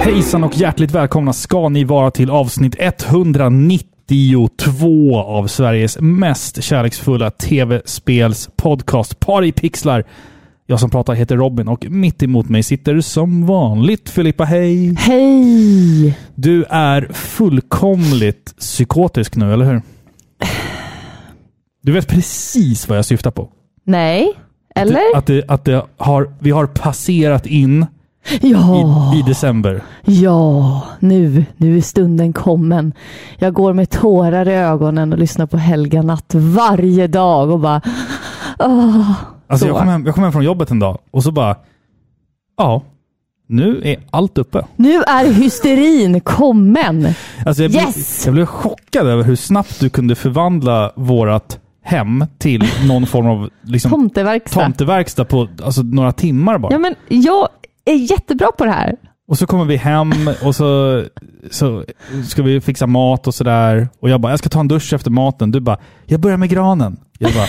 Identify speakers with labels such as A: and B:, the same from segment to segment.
A: Hejsan och hjärtligt välkomna ska ni vara till avsnitt 192 av Sveriges mest kärleksfulla tv-spels podcast Par i pixlar. Jag som pratar heter Robin och mitt emot mig sitter som vanligt Filippa. Hej!
B: Hej!
A: Du är fullkomligt psykotisk nu, eller hur? Du vet precis vad jag syftar på.
B: Nej, eller?
A: Att, det, att det har, vi har passerat in
B: ja,
A: i, i december.
B: ja, nu, nu är stunden kommen. Jag går med tårar i ögonen och lyssnar på Helga Natt varje dag och bara... åh.
A: Alltså jag
B: Så.
A: kom, hem, jag kom hem från jobbet en dag och så bara, ja, nu är allt uppe.
B: Nu är hysterin kommen!
A: Alltså jag,
B: Yes!
A: blev, jag blev chockad över hur snabbt du kunde förvandla vårat hem till någon form av liksom,
B: Tomteverkstad.
A: tomteverkstad på alltså, några timmar bara.
B: Ja, men jag är jättebra på det här.
A: Och så kommer vi hem och så, så ska vi fixa mat och sådär. Och jag bara, jag ska ta en dusch efter maten. Du bara, jag börjar med granen. Jag bara,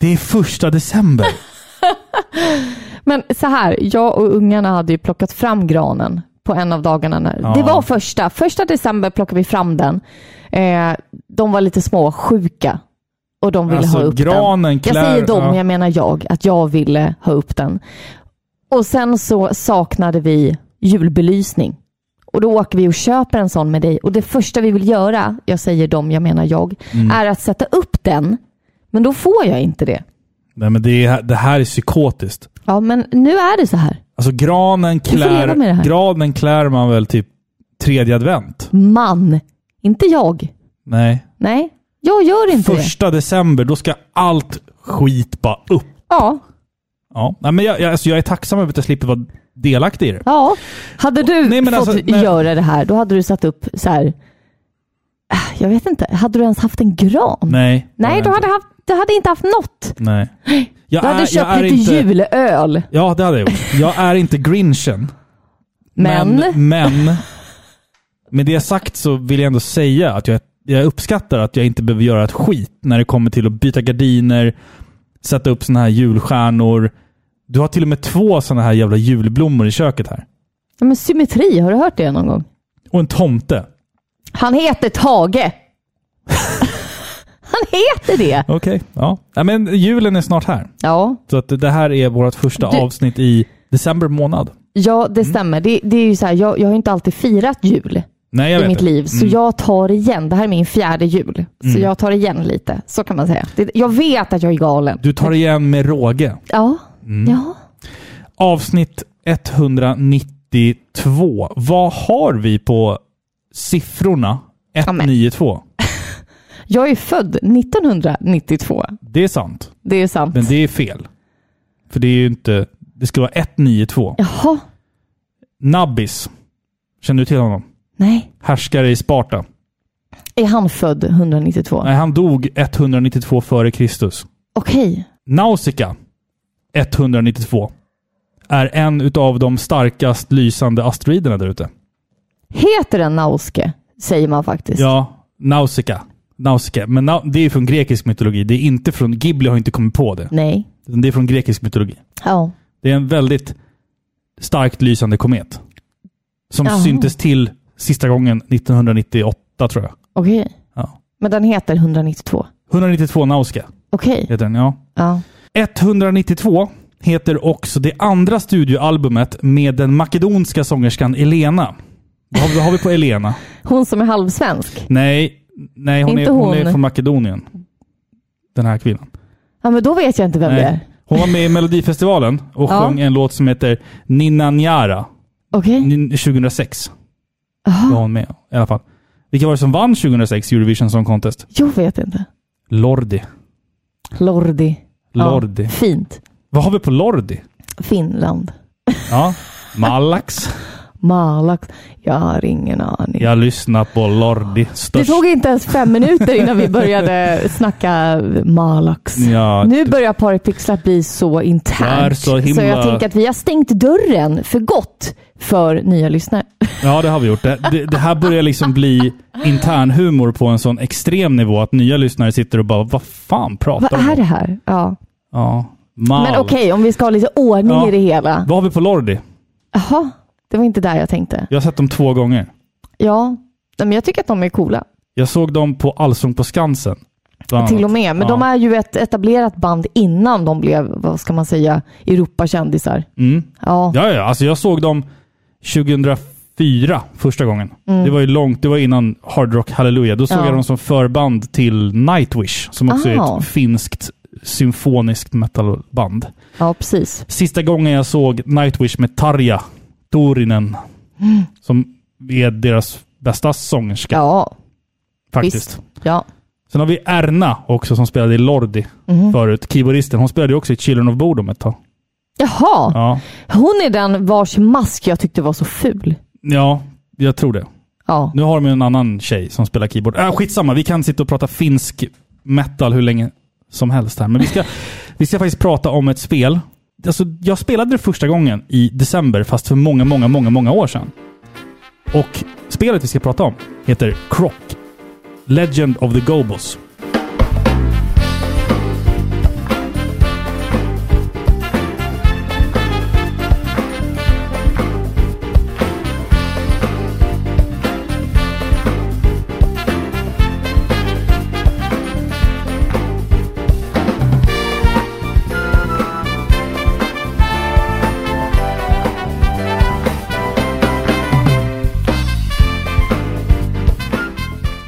A: det är första december.
B: Men så här, jag och ungarna hade ju plockat fram granen på en av dagarna. När,
A: Ja.
B: Det var första. Första december plockade vi fram den. Eh, de var lite små, sjuka. Och de ville ha
A: Alltså
B: upp den.
A: granen, klär...
B: Jag säger de,
A: ja.
B: jag menar jag. Att jag ville ha upp den. Och sen så saknade vi julbelysning. Och då åker vi och köper en sån med dig. Och det första vi vill göra, jag säger de, jag menar jag,
A: Mm.
B: är att sätta upp den. Men då får jag inte det.
A: Nej, men det, är, det här är psykotiskt.
B: Ja, men nu är det så här.
A: Alltså granen
B: får leva med det
A: klär,
B: här.
A: granen klär man väl typ tredje advent?
B: man. Inte jag.
A: Nej.
B: Nej, jag gör inte det.
A: Första december, då ska allt skit bara upp.
B: Ja,
A: Ja. Nej, men jag, jag, alltså, jag är tacksam över att jag slipper vara delaktig i det.
B: ja. Hade du
A: Nej, men
B: fått
A: alltså, när-
B: göra det här, då hade du satt upp så här. Äh, Jag vet inte. Hade du ens haft en gran?
A: Nej.
B: Nej, du hade, haft, du hade inte haft något.
A: Nej. Jag
B: Du hade
A: är- jag
B: köpt
A: är
B: lite
A: inte,
B: julöl.
A: Ja, det hade jag gjort. Jag är inte grinchen.
B: Men,
A: Men, med det sagt så vill jag ändå säga att jag, jag uppskattar att jag inte behöver göra ett skit när det kommer till att byta gardiner, sätta upp såna här julstjärnor. Du har till och med två såna här jävla julblommor i köket här.
B: Ja, men symmetri, har du hört det någon gång?
A: Och en tomte.
B: Han heter Tage. Han heter det.
A: Okej, ja. Nej, men julen är snart här.
B: Ja,
A: Så att det här är vårt första
B: Du-
A: avsnitt i december månad.
B: ja
A: Mm.
B: det stämmer. Det, det är ju så här, jag, jag har inte alltid firat jul.
A: Nej, jag
B: i
A: vet Mm.
B: mitt
A: det. Mm.
B: liv. Så jag tar igen. Det här är min fjärde jul. Så jag tar igen lite. Så kan man säga. Det, jag vet att jag är galen.
A: Du Mm. tar igen med råge.
B: Ja. ja.
A: Avsnitt 192. Vad har vi på siffrorna
B: Amen.
A: 192?
B: Jag är född 1992.
A: Det är sant,
B: Det är sant.
A: men det är fel. För det är ju inte... Det skulle vara 192.
B: Jaha.
A: Nabbis. Känner du till honom?
B: Nej.
A: Härskare i Sparta.
B: Är han född 192?
A: Nej, han dog 192 före Kristus.
B: Okej.
A: Nausicaa 192 är en utav de starkast lysande asteroiderna där ute.
B: Heter den Nauske? Säger man faktiskt.
A: Ja, Nausicaa. Nausicaa. Men nau- det är från grekisk mytologi. Det är inte från... Ghibli har inte kommit på det.
B: Nej.
A: Utan Det är från grekisk mytologi.
B: Ja.
A: Det är en väldigt starkt lysande komet. Som
B: Jaha.
A: syntes till sista gången 1998 tror jag.
B: Okej.
A: Ja.
B: Men den heter 192.
A: 192 Nausicaa
B: Okej.
A: heter den, ja.
B: Ja.
A: 192 heter också det andra studioalbumet med den makedonska sångerskan Elena. Vad har vi, vad har vi på Elena?
B: Hon som är halvsvensk.
A: Nej, nej hon, är,
B: Inte
A: hon.
B: hon.
A: är från Makedonien. Den här kvinnan.
B: Ja, men då vet jag inte vem det är.
A: Nej. Hon var med i Melodifestivalen och
B: Ja.
A: sjöng en låt som heter Nina Njara.
B: Okej.
A: Ni- 2006 var hon med i alla fall. Vilka var det som vann 2006 Eurovision Song Contest?
B: Jag vet inte.
A: Lordi.
B: Lordi.
A: Lordi.
B: Ja, fint.
A: Vad har vi på Lordi?
B: Finland.
A: Ja. Malax.
B: Malax. Jag har ingen aning.
A: Jag lyssnar på Lordi.
B: Det
A: Störst.
B: tog inte ens fem minuter innan vi började snacka Malax.
A: Ja,
B: Nu börjar Paripixlat bli så
A: Det Mm. är
B: internt.
A: så himla-
B: jag tänker att vi har stängt dörren för gott för nya lyssnare.
A: Ja, det har vi gjort. Det, det, det här börjar liksom bli intern humor på en sån extrem nivå att nya lyssnare sitter och bara vad fan pratar
B: Vad
A: de om?
B: är det här? Ja.
A: Ja. Mal.
B: Men okej, om vi ska ha lite ordning
A: Ja.
B: i det hela.
A: Vad har vi på Lordi?
B: Jaha, det var inte där jag tänkte.
A: Jag har sett dem två gånger.
B: Ja, Nej, men jag tycker att de är coola.
A: Jag såg dem på Allsång på Skansen. bland annat.
B: Till och med. Men
A: Ja.
B: de är ju ett etablerat band innan de blev, vad ska man säga, Europakändisar.
A: Mm.
B: Ja.
A: Ja, ja, alltså jag såg dem 2004 första gången. Det var ju långt, det var innan Hard Rock Hallelujah. Då såg
B: Mm. Ja.
A: jag dem som förband till Nightwish, som också är
B: Ah.
A: ett finskt symfoniskt metalband.
B: ja, precis.
A: Sista gången jag såg Nightwish med Tarja Torinen,
B: Mm.
A: som är deras bästa sångerska
B: Ja,
A: faktiskt.
B: visst. Ja.
A: Sen har vi Erna också som spelade i Lordi
B: Mm.
A: förut, keyboardisten. Hon spelade ju också i Children of Bodom ett tag.
B: Jaha,
A: Ja.
B: hon är den vars mask jag tyckte var så ful.
A: ja, jag tror det.
B: Ja,
A: Nu har de ju en annan tjej som spelar keyboard. Äh, skitsamma, vi kan sitta och prata finsk metal hur länge som helst här. Men vi ska, vi ska faktiskt prata om ett spel. Alltså, jag spelade det första gången i december, fast för många, många, många, många år sedan. Och spelet vi ska prata om heter Croc. Legend of the Gobos.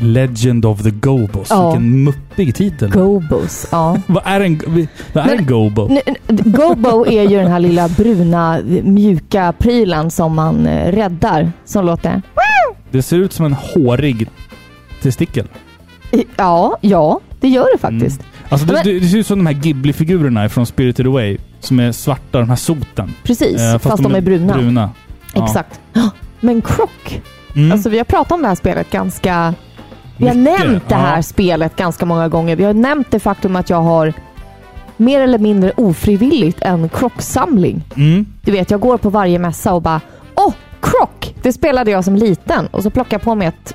A: Legend of the Gobos.
B: Ja.
A: Vilken muppig titel.
B: Gobos. Ja.
A: vad är en, vad är
B: Men-
A: en Gobo?
B: N- n- Gobo är ju den här lilla bruna mjuka prylen som man eh, räddar. Som låter...
A: Det ser ut som en hårig testikel.
B: I- Ja, ja, det gör det faktiskt.
A: Alltså det,
B: Men-
A: det, det ser ut som de här Ghibli-figurerna från Spirited Away. Som är svarta, de här soten.
B: Precis,
A: Eh,
B: fast, de är bruna.
A: bruna. Ja.
B: Exakt. Men Croc.
A: Mm.
B: Alltså vi har pratat om det här spelet ganska... Vi har
A: Mycket,
B: nämnt det här
A: ja.
B: spelet ganska många gånger. Vi har nämnt det faktum att jag har mer eller mindre ofrivilligt en Croc-samling.
A: Mm.
B: Du vet, jag går på varje mässa och bara Åh, Croc! Det spelade jag som liten. Och så plockar jag på mig ett,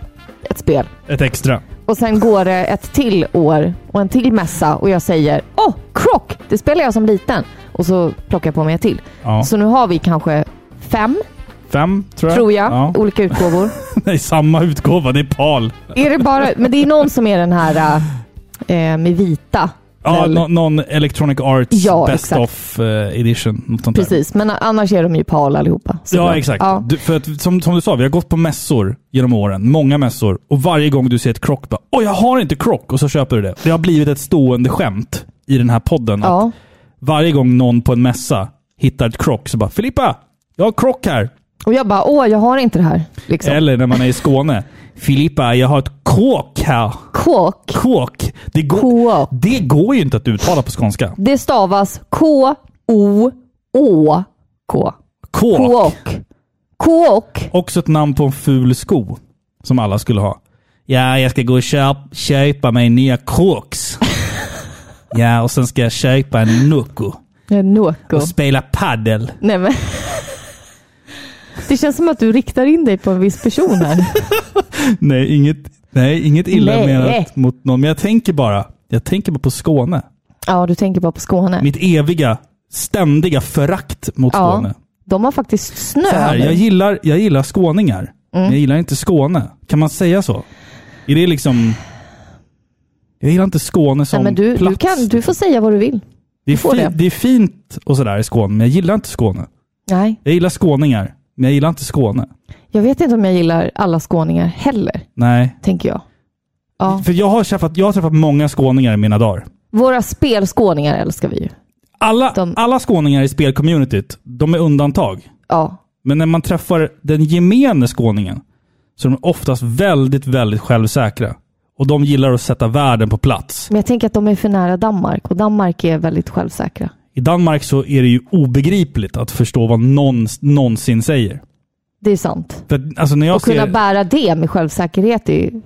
B: ett spel.
A: Ett extra.
B: Och sen går det ett till år och en till mässa och jag säger Åh, Croc! Det spelar jag som liten. Och så plockar jag på mig ett till.
A: Ja.
B: Så nu har vi kanske fem,
A: Fem, tror jag.
B: tror jag,
A: Ja.
B: olika utgåvor.
A: Nej, samma utgåva. Det är PAL.
B: är det bara, men det är någon som är den här eh, med vita.
A: Ja,
B: Väl-
A: nå- någon Electronic Arts
B: Ja,
A: Best
B: exakt.
A: of eh, Edition. Något sånt Där.
B: Precis, men annars är de ju PAL allihopa. Så
A: Ja,
B: bra.
A: exakt.
B: Ja.
A: Du, för att, som, som du sa, vi har gått på mässor genom åren. Många mässor. Och varje gång du ser ett krock, bara “Åh, jag har inte krock!” och så köper du det. Det har blivit ett stående skämt i den här podden. att
B: Ja.
A: Varje gång någon på en mässa hittar ett krock så bara “Filippa, jag har krock här!”
B: Och jag bara, åh, jag har inte det här. Liksom.
A: Eller när man är i Skåne. Filippa, jag har ett kåk här.
B: Kåk.
A: Kåk. Det går,
B: Kåk.
A: det går ju inte att uttala på skånska.
B: Det stavas K-O-Å-K.
A: Kåk.
B: Kåk. Kåk.
A: Också ett namn på en ful sko. Som alla skulle ha. Ja, jag ska gå och köp, köpa mig nya Crocs. ja, och sen ska jag köpa en Nocco.
B: Noko.
A: Och spela paddel.
B: Nej men. Det känns som att du riktar in dig på en viss person här.
A: Nej, inget, nej, inget illa
B: Nej.
A: menat mot någon. Men jag tänker bara, jag tänker bara på Skåne.
B: Ja, du tänker bara på Skåne.
A: Mitt eviga, ständiga förakt mot
B: Ja.
A: Skåne.
B: De har faktiskt snö.
A: Så här,
B: nu.
A: jag, gillar, jag gillar skåningar,
B: Mm.
A: men jag gillar inte Skåne. Kan man säga så? Är det liksom... Jag gillar inte Skåne som
B: Nej, men du,
A: plats.
B: du, kan, du får säga vad du vill.
A: det, är
B: får
A: fi, det.
B: det.
A: är fint och sådär i Skåne, men jag gillar inte Skåne.
B: Nej,
A: Jag gillar skåningar, men jag gillar inte Skåne.
B: jag vet inte om jag gillar alla skåningar heller,
A: Nej.
B: tänker jag. Ja.
A: För jag har, träffat, jag har träffat många skåningar i mina dagar.
B: Våra spelskåningar älskar vi ju.
A: Alla,
B: De-
A: alla skåningar i spelcommunityt, de är undantag.
B: Ja,
A: Men när man träffar den gemene skåningen så är de oftast väldigt, väldigt självsäkra. Och de gillar att sätta världen på plats.
B: Men jag tänker att de är för nära Danmark och Danmark är väldigt självsäkra.
A: I Danmark så är det ju obegripligt att förstå vad någon någonsin säger.
B: Det är sant.
A: För att, alltså när jag
B: Och
A: ser...
B: kunna bära det med självsäkerhet är ju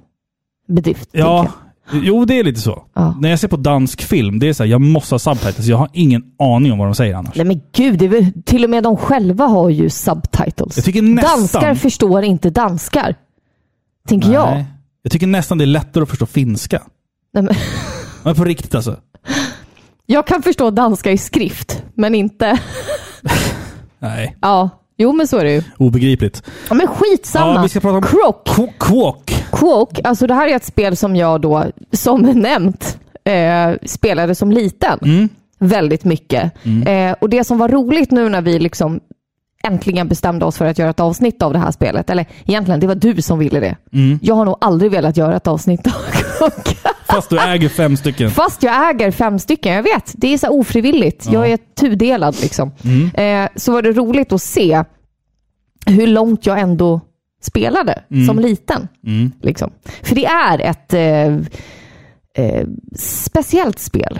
B: bedrift. tänker
A: Ja,
B: jag.
A: jo det är lite så.
B: Ja.
A: När jag ser på dansk film, det är så här, jag måste ha subtitles. Jag har ingen aning om vad de säger annars.
B: Nej men gud, det är väl, till och med de själva har ju subtitles.
A: Jag tycker nästan...
B: Danskar förstår inte danskar. Tänker
A: Nej.
B: jag.
A: Jag tycker nästan det är lättare att förstå finska.
B: Nej, men,
A: Men på riktigt alltså.
B: jag kan förstå danska i skrift, men inte...
A: Nej,
B: Ja, jo men så är det ju.
A: obegripligt.
B: Ja, men skitsamma.
A: Ja, vi ska prata om-
B: Croc.
A: Qu- Quok.
B: Quok, alltså det här är ett spel som jag då, som nämnt, eh, spelade som liten. Väldigt mycket. Eh, och det som var roligt nu när vi liksom äntligen bestämde oss för att göra ett avsnitt av det här spelet, eller egentligen, det var du som ville det. Jag har nog aldrig velat göra ett avsnitt av Quok.
A: Fast du äger fem stycken.
B: Fast jag äger fem stycken, jag vet. Det är så här ofrivilligt. Jag är tudelad liksom.
A: Mm.
B: Eh, så var det roligt att se hur långt jag ändå spelade
A: Mm.
B: som liten. Liksom. För det är ett eh, eh, speciellt spel.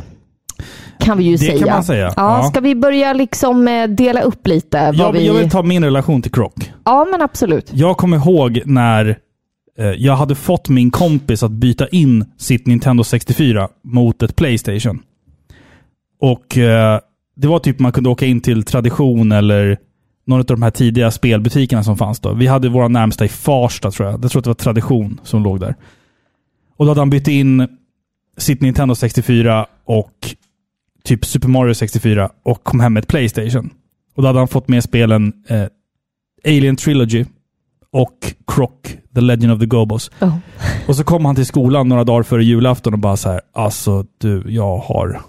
B: Kan vi ju
A: Det
B: säga.
A: kan man säga.
B: Ja,
A: Ja.
B: ska vi börja liksom eh, dela upp lite? Vad
A: Jag,
B: vi...
A: jag vill ta min relation till Croc.
B: Ja, men absolut.
A: Jag kommer ihåg när eh, jag hade fått min kompis att byta in sitt Nintendo 64 mot ett Playstation. Och eh, det var typ man kunde åka in till Tradition eller någon av de här tidiga spelbutikerna som fanns då. Vi hade våra närmsta i Farsta tror jag. Jag tror att det var Tradition som låg där. Och då hade han bytt in sitt Nintendo 64 och typ Super Mario 64 och kom hem med ett Playstation. Och då hade han fått med spelen eh, Alien Trilogy och Croc, The Legend of the Gobos.
B: Ja.
A: Och så kom han till skolan några dagar före julafton och bara så här, alltså du, jag har,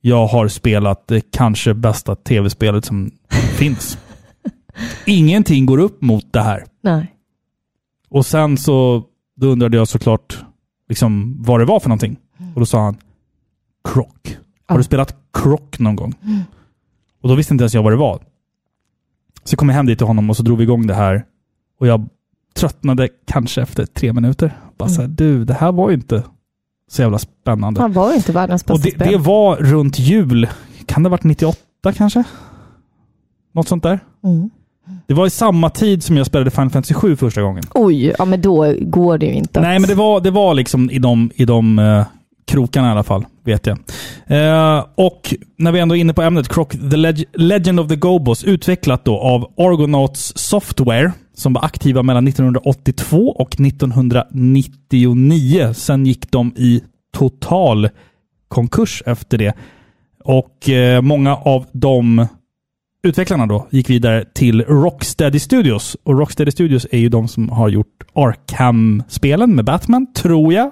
A: jag har spelat det kanske bästa tv-spelet som finns. Ingenting går upp mot det här.
B: Nej.
A: Och sen så då undrade jag såklart liksom, vad det var för någonting. Och då sa han Croc. Har
B: Ja.
A: du spelat Croc någon gång? Och då visste inte ens jag vad det var. Så kom jag hem dit till honom och så drog vi igång det här. Och jag tröttnade kanske efter tre minuter. Bara så här, du, det här var ju inte så jävla spännande.
B: Han var ju inte världens
A: och
B: bästa
A: det,
B: spel.
A: det var runt jul. Kan det ha varit 98 kanske? Något sånt där.
B: Mm.
A: Det var i samma tid som jag spelade Final Fantasy 7 första gången.
B: Oj, ja men då går det ju inte.
A: Nej, men det var, det var liksom i de, i de eh, krokarna i alla fall, vet jag. Eh, och när vi ändå är inne på ämnet, Croc The Leg- Legend of the Gobos, utvecklat då av Argonauts Software, som var aktiva mellan 1982 och 1999. Sen gick de i total konkurs efter det. Och eh, många av de utvecklarna då gick vidare till Rocksteady Studios. Och Rocksteady Studios är ju de som har gjort Arkham-spelen med Batman, tror jag.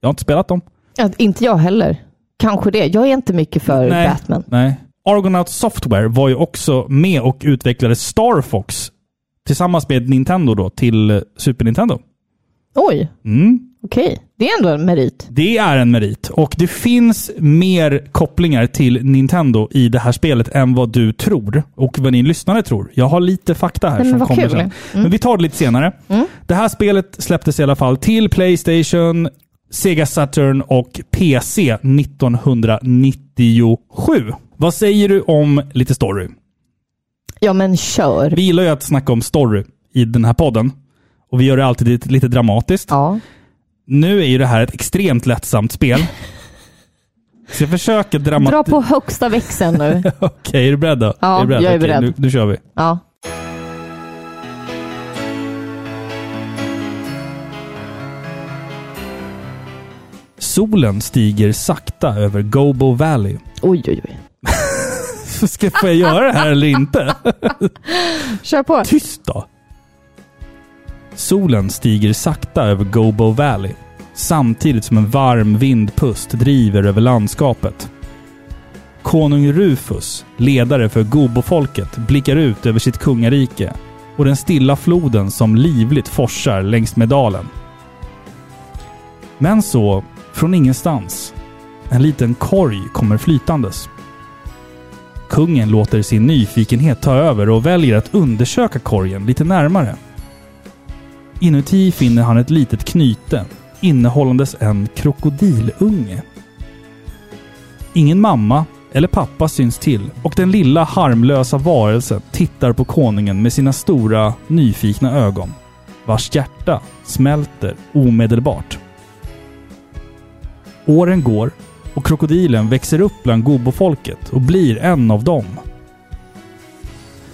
A: Jag har inte spelat dem.
B: Ja, inte jag heller. Kanske det. Jag är inte mycket för
A: Nej.
B: Batman.
A: Nej. Argonaut Software var ju också med och utvecklade Star Fox tillsammans med Nintendo då till eh, Super Nintendo.
B: Oj,
A: Mm.
B: okej. Det är ändå en merit.
A: Det är en merit och det finns mer kopplingar till Nintendo i det här spelet än vad du tror och vad ni lyssnare tror. Jag har lite fakta här
B: Nej, men
A: som
B: vad
A: kommer
B: kul. Mm.
A: sen. Men vi tar det lite senare. Det här spelet släpptes i alla fall till Playstation, Sega Saturn och PC 1997. Vad säger du om lite story?
B: Ja, men kör.
A: Vi gillar ju att snacka om story i den här podden och vi gör det alltid lite- lite dramatiskt.
B: Ja.
A: Nu är ju det här ett extremt lättsamt spel. Så jag försöker
B: Dra
A: dramatisera.
B: på högsta växeln nu.
A: Okej, är du beredd då?
B: Ja,
A: du
B: jag är
A: Okej,
B: beredd.
A: Nu, nu kör vi.
B: Ja.
A: Solen stiger sakta över Gobo Valley.
B: Oj, oj, oj.
A: Ska får jag göra det här eller inte?
B: Kör på.
A: Tyst då! Solen stiger sakta över Gobo Valley samtidigt som en varm vindpust driver över landskapet. Konung Rufus, ledare för Gobofolket, blickar ut över sitt kungarike och den stilla floden som livligt forsar längs med dalen. Men så, från ingenstans, en liten korg kommer flytandes. Kungen låter sin nyfikenhet ta över och väljer att undersöka korgen lite närmare. Inuti finner han ett litet knyte innehållandes en krokodilunge. Ingen mamma eller pappa syns till och den lilla harmlösa varelsen tittar på konungen med sina stora nyfikna ögon vars hjärta smälter omedelbart. Åren går och krokodilen växer upp bland gobofolket och blir en av dem.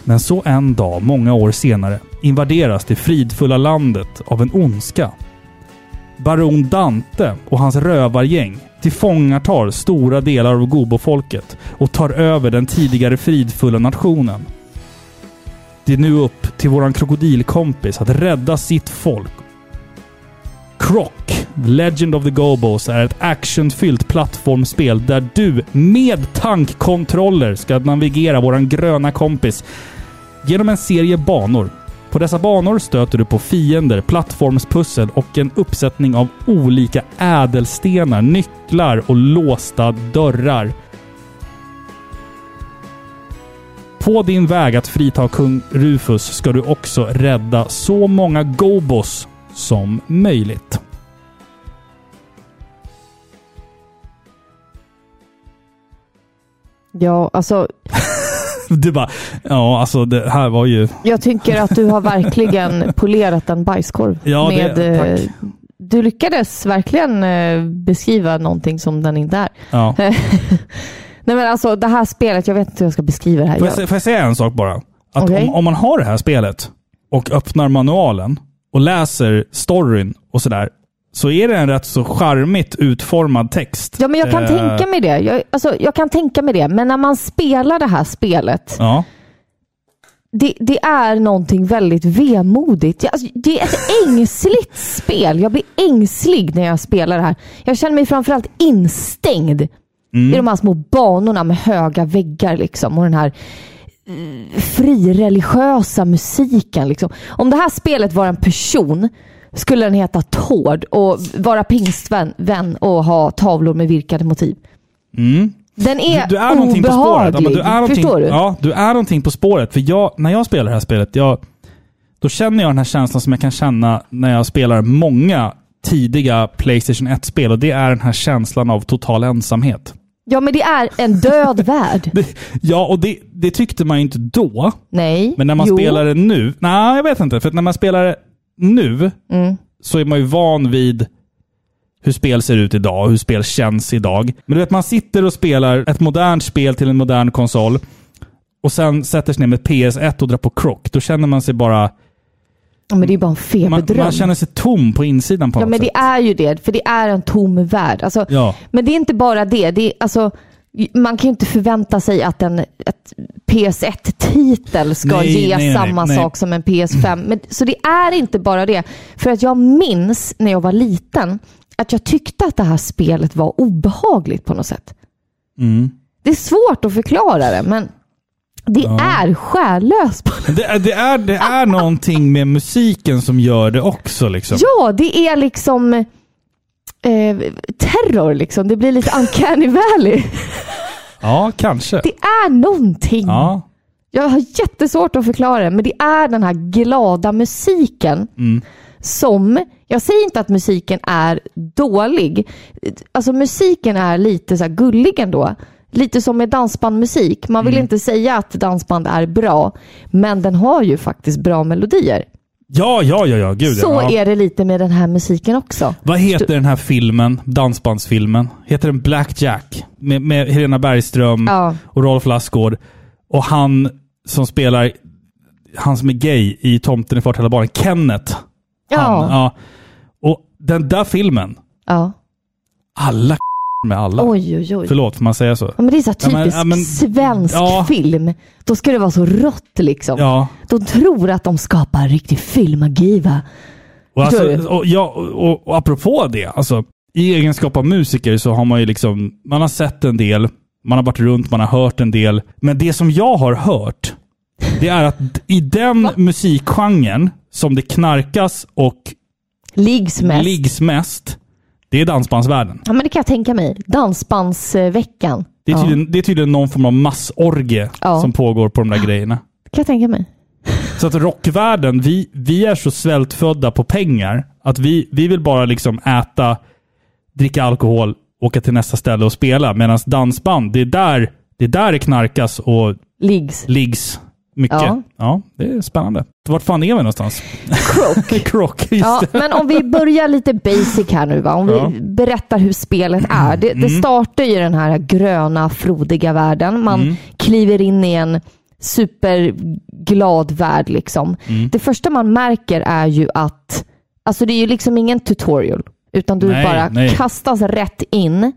A: Men så en dag, många år senare, invaderas det fridfulla landet av en ondska. Baron Dante och hans rövargäng tillfångatar stora delar av gobofolket och tar över den tidigare fridfulla nationen. Det är nu upp till våran krokodilkompis att rädda sitt folk. Croc, Legend of the Gobos, är ett actionfyllt plattformsspel där du med tankkontroller ska navigera våran gröna kompis genom en serie banor. På dessa banor stöter du på fiender, plattformspussel och en uppsättning av olika ädelstenar, nycklar och låsta dörrar. På din väg att frita kung Rufus ska du också rädda så många Gobos som möjligt.
B: Ja, alltså
A: Du bara, ja alltså det här var ju...
B: jag tycker att du har verkligen polerat en bajskorv.
A: Ja,
B: med,
A: det,
B: eh,
A: tack.
B: du lyckades verkligen eh, beskriva någonting som den inte är.
A: Ja.
B: Nej men alltså det här spelet, jag vet inte hur jag ska beskriva det här.
A: Får, jag, sä- får jag säga en sak bara? Att
B: Okej.
A: om, om man har det här spelet och öppnar manualen och läser storyn och sådär, så är det en rätt så charmigt utformad text.
B: Ja, men jag kan
A: Eh,
B: tänka mig det. Jag, alltså, jag kan tänka mig det. Men när man spelar det här spelet,
A: Ja.
B: det, det är någonting väldigt vemodigt. Jag, alltså, det är ett ängsligt spel. Jag blir ängslig när jag spelar det här. Jag känner mig framförallt instängd i de här små banorna med höga väggar liksom, och den här mm, frireligiösa musiken. Liksom. Om det här spelet var en person skulle den heta Tord och vara pingstvän vän och ha tavlor med virkade motiv. Den är,
A: Mm. Du är någonting på spåret. Ja,
B: obehaglig.
A: men du är någonting,
B: Förstår du?
A: Ja, du är någonting på spåret. För jag, när jag spelar det här spelet, jag, då känner jag den här känslan som jag kan känna när jag spelar många tidiga Playstation 1-spel. Och det är den här känslan av total ensamhet.
B: Ja, men det är en död värld.
A: Det, ja, och det, det tyckte man ju inte då.
B: Nej.
A: Men när man
B: jo.
A: spelar det nu... Nej, jag vet inte. För att när man spelar det nu
B: Mm.
A: så är man ju van vid hur spel ser ut idag, hur spel känns idag. Men du vet, man sitter och spelar ett modernt spel till en modern konsol och sen sätter sig ner med PS1 och drar på Croc. Då känner man sig bara...
B: Ja, men det är bara en
A: Man,
B: feberdröm.
A: man känner sig tom på insidan på
B: ja,
A: något
B: men det
A: sätt.
B: är ju det. För det är en tom värld. Alltså,
A: Ja.
B: Men det är inte bara det. det är, alltså, man kan ju inte förvänta sig att en ett PS1-titel ska
A: Nej,
B: ge
A: nej, nej,
B: samma
A: nej.
B: sak som en PS5. Men, så det är inte bara det. För att jag minns när jag var liten att jag tyckte att det här spelet var obehagligt på något sätt.
A: Mm.
B: Det är svårt att förklara det, men det är själlöst. på-
A: Det, det, är, det är någonting med musiken som gör det också. Liksom.
B: Ja, det är liksom eh, terror. Liksom. Det blir lite uncanny valley.
A: Ja, kanske.
B: Det är någonting.
A: Ja.
B: Jag har jättesvårt att förklara det, men det är den här glada musiken
A: Mm.
B: som... Jag säger inte att musiken är dålig. Alltså musiken är lite så här gullig ändå. Lite som med dansbandmusik. Man
A: Mm.
B: vill inte säga att dansband är bra, men den har ju faktiskt bra melodier.
A: ja, ja, ja, ja. Gud,
B: så
A: ja.
B: är det lite med den här musiken också.
A: Vad heter den här filmen? Dansbandsfilmen? Heter den Blackjack? Med, med Helena Bergström
B: Ja.
A: och Rolf Lassgård. Och han som spelar, han som är gay i Tomten i Farthälla barnen, Kenneth. Han,
B: Ja.
A: ja. Och den där filmen,
B: ja.
A: alla med alla.
B: Oj, oj, oj.
A: Förlåt, får man säga så?
B: Ja, men det är så
A: Ja,
B: här
A: men-
B: typiskt
A: ja, men-
B: svensk
A: ja.
B: film. Då ska det vara så rått liksom.
A: Ja.
B: De tror att de skapar riktig filmmagi va?
A: Och,
B: Förstår
A: alltså,
B: du?
A: och, ja, och, och apropå det, alltså, i egenskap av musiker så har man ju liksom, man har sett en del, man har varit runt, man har hört en del. Men det som jag har hört, det är att d- i den musikgenren som det knarkas och
B: Liggs mest.
A: liggs mest, det är dansbandsvärlden.
B: Ja, men det kan jag tänka mig. Dansbandsveckan.
A: Det är,
B: ja.
A: tydligen, det är tydligen någon form av massorgie
B: Ja.
A: som pågår på de där grejerna.
B: Det kan jag tänka mig.
A: Så att rockvärlden, vi, vi är så svältfödda på pengar Att vi, vi vill bara liksom äta, dricka alkohol, åka till nästa ställe och spela. Medan dansband, det är där det är där det knarkas och
B: Liggs.
A: liggs mycket. Ja.
B: Ja.
A: det är spännande. Vart fan är vi någonstans?
B: Croak.
A: Krock, just
B: Ja,
A: det.
B: men om vi börjar lite basic här nu. Va? Om vi
A: Ja. Mm.
B: berättar hur spelet är. Det, det startar ju i den här gröna, frodiga världen. Man
A: Mm.
B: kliver in i en superglad värld. Liksom.
A: Mm.
B: Det första man märker är ju att, alltså det är ju liksom ingen tutorial, utan du
A: Nej,
B: bara
A: nej.
B: kastas rätt in.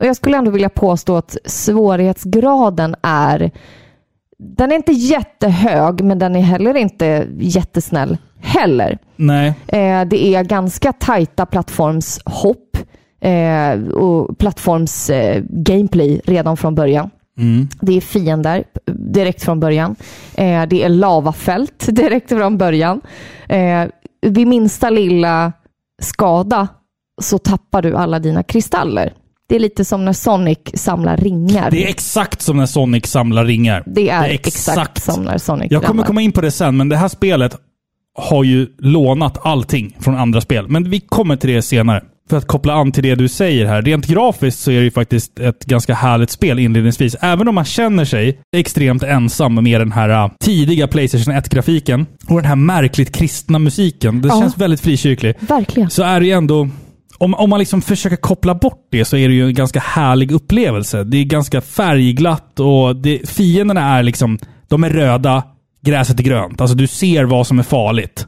B: Och Jag skulle ändå vilja påstå att svårighetsgraden är den är inte jättehög, men den är heller inte jättesnäll heller.
A: Nej.
B: Eh, det är ganska tajta plattformshopp eh, och plattformsgameplay eh, gameplay redan från början.
A: Mm.
B: Det är fiender p- direkt från början. Eh, det är lavafält direkt från början. Eh, vid minsta lilla skada så tappar du alla dina kristaller. Det är lite som när Sonic samlar ringar.
A: Det är exakt som när Sonic samlar ringar.
B: Det är exakt, som när Sonic
A: Jag kommer
B: ramlar.
A: komma in på det sen, men det här spelet har ju lånat allting från andra spel. Men vi kommer till det senare. För att koppla an till det du säger här. Rent grafiskt så är det ju faktiskt ett ganska härligt spel inledningsvis. Även om man känner sig extremt ensam med den här äh, tidiga Playstation 1-grafiken och den här märkligt kristna musiken. Det
B: Ja.
A: känns väldigt frikyrklig.
B: Verkligen.
A: så är det ju ändå... Om, om man liksom försöker koppla bort det så är det ju en ganska härlig upplevelse. Det är ganska färgglatt och det, fienderna är liksom... De är röda, gräset är grönt. Alltså du ser vad som är farligt.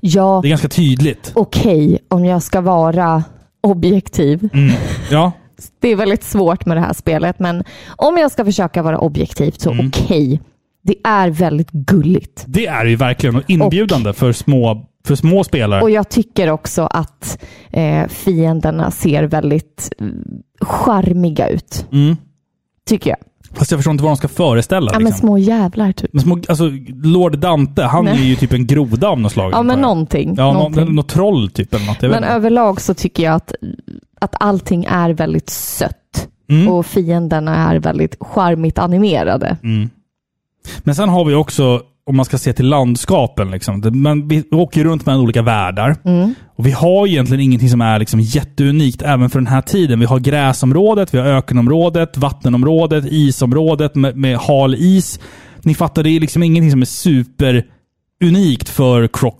B: Ja,
A: Det är ganska tydligt.
B: okej om jag ska vara objektiv.
A: Mm. Ja,
B: Det är väldigt svårt med det här spelet, men om jag ska försöka vara objektiv så
A: Mm.
B: okej. Det är väldigt gulligt.
A: det är ju verkligen och inbjudande för, små, för små spelare.
B: Och jag tycker också att eh, fienderna ser väldigt mm, charmiga ut. Tycker jag.
A: Mm. Fast jag förstår inte vad de ska föreställa.
B: Ja, men
A: liksom.
B: små jävlar typ.
A: men små, alltså, Lord Dante, han
B: Nej.
A: är ju typ en groda av något slag.
B: Ja,
A: antar
B: men
A: jag.
B: någonting.
A: Ja, nå-
B: någonting.
A: något troll typ eller något. Jag vet
B: Men
A: inte.
B: överlag så tycker jag att, att allting är väldigt sött.
A: Mm.
B: Och fienderna är väldigt charmigt animerade.
A: Men sen har vi också, om man ska se till landskapen, liksom, det- men vi åker ju runt mellan olika världar.
B: Mm.
A: Och vi har ju egentligen ingenting som är liksom jätteunikt även för den här tiden. Vi har gräsområdet, vi har ökenområdet, vattenområdet, isområdet med, med hal is. Ni fattar, det är liksom ingenting som är superunikt för Croc.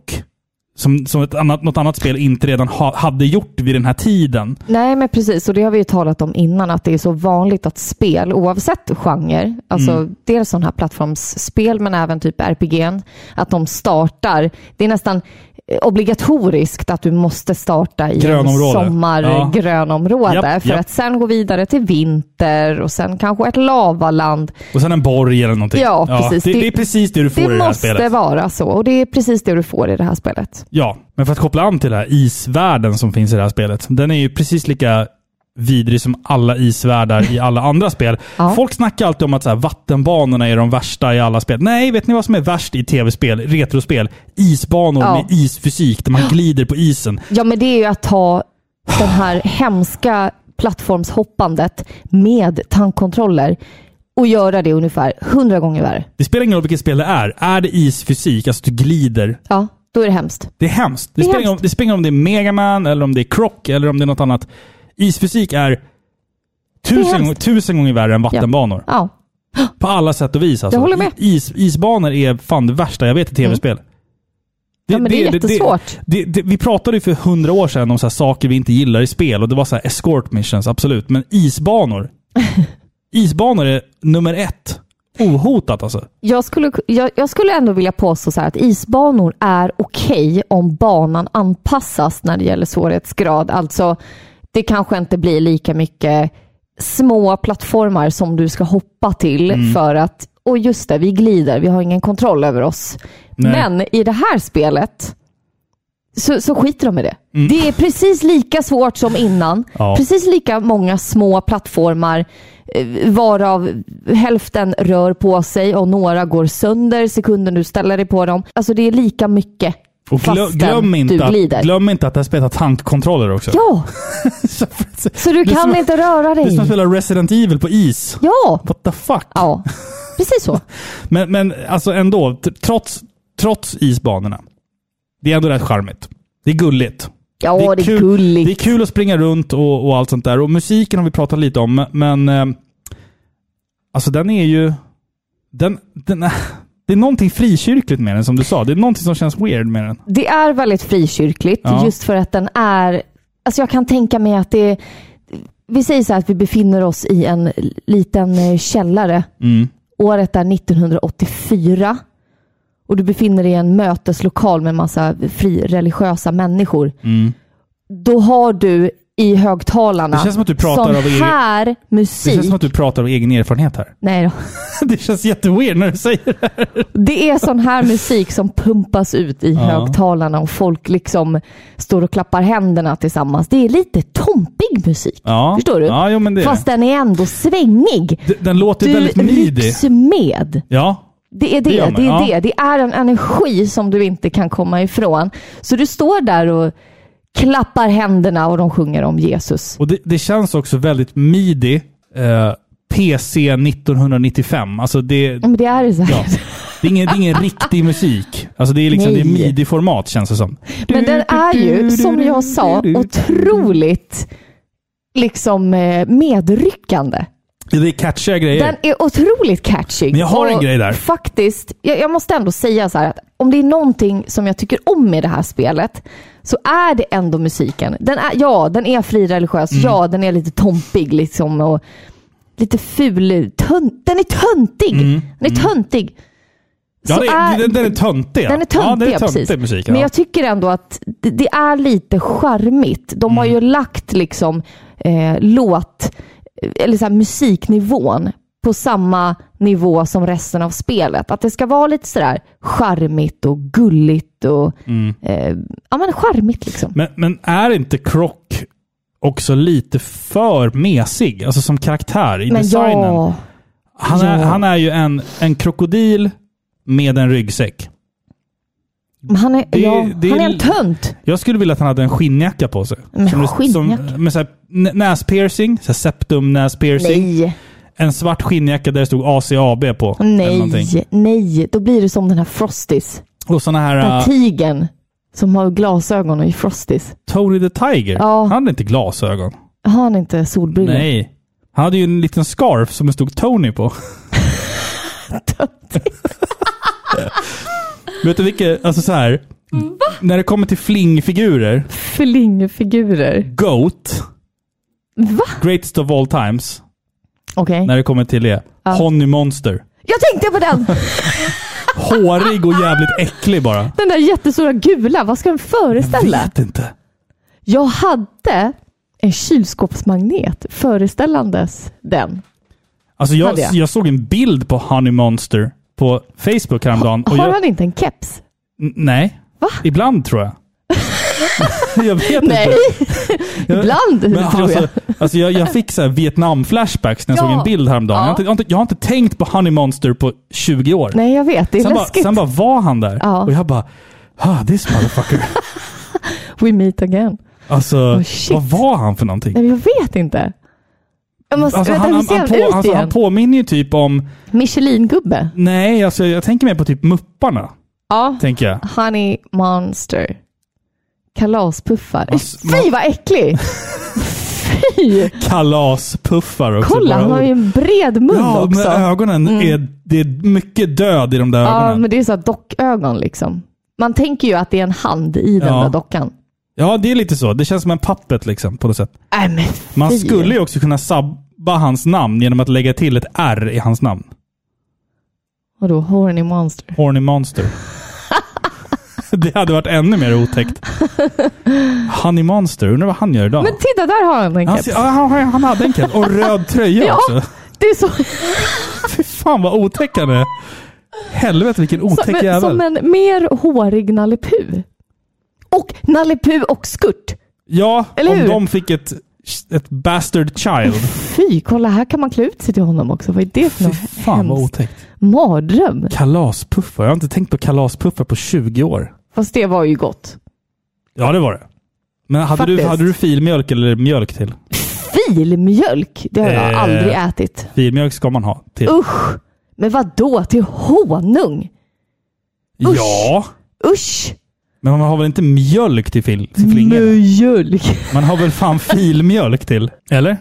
A: Som, som ett annat, något annat spel inte redan ha, hade gjort vid den här tiden.
B: Nej, men precis. Och det har vi ju talat om innan, att det är så vanligt att spel, oavsett genre, alltså
A: Mm.
B: dels sådana här plattformsspel, men även typ RPG, att de startar. Det är nästan eh, obligatoriskt att du måste starta i
A: Grönområde. Ja.
B: en sommargrönområde
A: Japp,
B: för
A: japp.
B: att sen gå vidare till vinter och sen kanske ett lavaland.
A: Och sen en borg eller någonting.
B: Ja, precis.
A: Det, det,
B: Det-
A: är precis det du får
B: Det
A: i det här spelet.
B: måste vara så och det är precis det du får i det här spelet.
A: Ja, men för att koppla an till det här isvärlden som finns i det här spelet. Den är ju precis lika vidrig som alla isvärldar i alla andra spel.
B: Ja.
A: Folk snackar alltid om att så här, vattenbanorna är de värsta i alla spel. Nej, vet ni vad som är värst i tv-spel, retrospel? Isbanor
B: Ja.
A: med isfysik, där man glider på isen.
B: Ja, men det är ju att ta den här hemska plattformshoppandet med tankkontroller och göra det ungefär hundra gånger värre.
A: Det spelar ingen roll vilket spel det är. Är det isfysik, alltså du glider,
B: Ja, då är det hemskt.
A: det är hemskt. Det,
B: Det är
A: spelar, ingen roll-
B: hemskt.
A: det spelar ingen roll om det är Megaman, eller om det är Croc, eller om det är något annat. Isfysik är tusen,
B: hemskt.
A: gånger- tusen gånger värre än vattenbanor.
B: Ja,
A: På alla sätt och vis. Alltså.
B: Jag håller med. Mm.
A: Is, isbanor är fan det värsta jag vet i tv-spel.
B: Ja, men det är jättesvårt.
A: Det, det, vi pratade ju för hundra år sedan om så här saker vi inte gillar i spel och det var så här escort missions, absolut. Men isbanor. isbanor är nummer ett. Ohotat alltså.
B: jag skulle, jag, jag skulle ändå vilja påstå så här att isbanor är okej om banan anpassas när det gäller svårighetsgrad. Alltså, det kanske inte blir lika mycket små plattformar som du ska hoppa till för att, och just det, vi glider, vi har ingen kontroll över oss.
A: Nej.
B: Men i det här spelet så, så skiter de i det. Det är precis lika svårt som innan.
A: Mm. Ja.
B: Precis lika många små plattformar eh, varav hälften rör på sig och några går sönder sekunden du ställer dig på dem. Alltså det är lika mycket
A: Och glö,
B: fastän
A: glöm,
B: du
A: inte
B: glider.
A: att, glöm inte att det här spelet har tankkontroller också.
B: Ja, så du
A: Det är
B: kan
A: som-
B: inte röra
A: Det är som att
B: dig.
A: spela Resident Evil på is.
B: Ja,
A: What the fuck?
B: ja, precis så.
A: Men, men alltså ändå, t- trots, trots isbanorna. Det är ändå rätt charmigt. Det är gulligt.
B: Ja, det är, gulligt.
A: Det är kul att springa runt och, och allt sånt där. Och musiken har vi pratat lite om, men eh, alltså den är ju... Den, den, är- det är någonting frikyrkligt med den som du sa. Det är någonting som känns weird med den.
B: Det är väldigt frikyrkligt
A: Ja.
B: just för att den är... Alltså jag kan tänka mig att det... Vi säger så här att vi befinner oss i en liten eh, källare.
A: Mm,
B: Året är 1984. Och du befinner dig i en möteslokal med massa frireligiösa människor.
A: mm.
B: Då har du i högtalarna
A: Det känns som att du pratar
B: sån
A: av er-
B: här
A: Det
B: musik.
A: känns som att du pratar av egen erfarenhet här.
B: Nej då.
A: Det känns jätteweird när du säger det.
B: Det är sån här musik som pumpas ut i högtalarna och folk liksom står och klappar händerna tillsammans. Det är lite tompig musik.
A: Ja.
B: Förstår du?
A: Ja, jo, men det är
B: Fast
A: det.
B: den är ändå svängig.
A: D- Den låter
B: Du
A: väldigt midi.
B: rycks med.
A: Ja.
B: Det är det.
A: Det
B: Det
A: gör
B: är,
A: man,
B: det,
A: ja.
B: det. är en energi som du inte kan komma ifrån. Så du står där och klappar händerna och de sjunger om Jesus.
A: Och det, det känns också väldigt midi. Eh, PC 1995. Alltså det,
B: Ja, Men det är det så här.
A: Ja. Det är ingen, det är ingen riktig musik. Alltså det är liksom det är
B: Nej.
A: midi-format känns det som.
B: Men den är ju, som jag sa, otroligt liksom eh, medryckande.
A: Ja, Det är catchiga grejer.
B: Den är otroligt catchy.
A: Men jag har en grej där.
B: Faktiskt, jag, jag måste ändå säga så här att om det är någonting som jag tycker om i det här spelet så är det ändå musiken. Den är, ja, den är frireligiös.
A: Mm.
B: Ja, den är lite tompig liksom och lite ful. Tönt, den är töntig. Den är töntig.
A: Mm. ja,
B: Så
A: det, är, den, den är töntig. ja.
B: den är töntig,
A: ja, den är
B: ja,
A: töntig
B: precis.
A: musik.
B: Men
A: Ja.
B: jag tycker ändå att det, det är lite charmigt. De har
A: Mm.
B: ju lagt liksom eh, låt, eller så här, musiknivån på samma nivå som resten av spelet. Att det ska vara lite sådär charmigt och gulligt och
A: Mm.
B: eh, ja men charmigt liksom.
A: Men, men är inte Croc också lite för mesig? Alltså som karaktär i
B: Men
A: designen.
B: ja,
A: han, är,
B: ja.
A: han är ju en, en krokodil med en ryggsäck.
B: men han är,
A: Det-
B: ja,
A: det är
B: han är
A: li-
B: en tönt.
A: Jag skulle vilja att han hade en skinnjacka på sig.
B: Men
A: Som-
B: skinnjacka?
A: Som, med så här, n- näspiercing, så här septum näspiercing.
B: Nej,
A: en svart skinnjacka där det stod ACAB på. eller någonting.
B: nej, nej. Då blir det som den här Frosties.
A: Och såna
B: Den här
A: här... Uh,
B: tigern som har glasögon och är Frosties.
A: Tony the Tiger.
B: Ja.
A: Han hade inte glasögon.
B: Har han inte solbrillor?
A: Nej. Han hade ju en liten scarf som det stod Tony på. Vet du vilket? Alltså så här. När det kommer till flingfigurer.
B: Flingfigurer.
A: Goat.
B: Va?
A: Greatest of all times.
B: Okej.
A: När det kommer till det. Honey Monster.
B: Jag tänkte på den!
A: Hårig och jävligt äcklig bara.
B: Den där jättestora gula. Vad ska den föreställa?
A: Vet inte.
B: Jag hade en kylskåpsmagnet föreställandes den.
A: Alltså jag,
B: Hade
A: jag.
B: jag.
A: såg en bild på Honey Monster på Facebook häromdagen. och
B: Har
A: jag,
B: han inte en keps?
A: N- Nej.
B: Va?
A: Ibland tror jag. jag vet
B: Nej,
A: inte. Jag-
B: ibland
A: Men
B: tror
A: alltså,
B: jag.
A: Alltså jag, jag fick så här Vietnam-flashbacks när jag
B: Ja.
A: såg en bild häromdagen. Jag, har inte,
B: Ja.
A: jag, har inte, jag har inte tänkt på Honey Monster på 20 år.
B: Nej, jag vet. Det är
A: sen, bara,
B: läskigt.
A: sen bara var han där
B: Ja.
A: och jag bara ah, this motherfucker.
B: We meet again.
A: Alltså,
B: Oh, shit.
A: vad var han för någonting?
B: Nej, jag vet inte. Jag måste,
A: Alltså,
B: vänta,
A: han,
B: hur
A: han,
B: ser
A: han,
B: han,
A: på,
B: ut
A: alltså,
B: igen?
A: han påminner ju typ om,
B: Michelin-gubbe?
A: nej alltså, jag tänker mer på typ Mupparna.
B: Ja.
A: Tänker jag.
B: Honey Monster. Kalaspuffar.
A: Mas-
B: Fy vad äcklig! Fy!
A: Kalaspuffar också.
B: Kolla,
A: bara
B: han har
A: ord.
B: ju en bred mun
A: Ja, men
B: också. Mm.
A: ögonen, är, det är mycket död i de där
B: ja,
A: ögonen.
B: men det är så här dockögon liksom. Man tänker ju att det är en hand i den
A: Ja.
B: där dockan.
A: Ja, det är lite så. Det känns som en pappet liksom, på något sätt.
B: Nej Äh, men
A: Man
B: fy.
A: skulle ju också kunna sabba hans namn genom att lägga till ett R i hans namn.
B: Vadå, horny monster?
A: Horny Monster. det hade varit ännu mer otäckt. Honey Monster, undrar vad han gör idag?
B: Men titta, där har han en
A: han,
B: keps.
A: ser- ja, han, han hade en keps och röd tröja
B: Ja.
A: också.
B: Det är så,
A: Fy fan vad otäck han är. Helvete vilken otäck
B: som, en,
A: jävel.
B: som en mer hårig Nalle Puh. Och Nalle Puh och skurt.
A: Ja,
B: Eller
A: om
B: hur?
A: de fick ett, ett bastard child.
B: Fy, kolla här kan man klä ut sig till honom också. Vad är det
A: Fy
B: för något
A: fan vad
B: hemskt?
A: otäckt.
B: Mardröm.
A: Kalaspuffar. Jag har inte tänkt på kalaspuffar på 20 år.
B: Fast det var ju gott.
A: Ja, det var det. Men hade, du,
B: Faktiskt.
A: hade du filmjölk eller mjölk till?
B: Filmjölk, det har jag
A: Eh.
B: aldrig ätit.
A: Filmjölk ska man ha till.
B: Usch! Men vad då till honung? usch.
A: Ja,
B: Usch!
A: Men man har väl inte mjölk till, fil, till flingorna?
B: Mjölk.
A: Man har väl fan filmjölk till? Eller?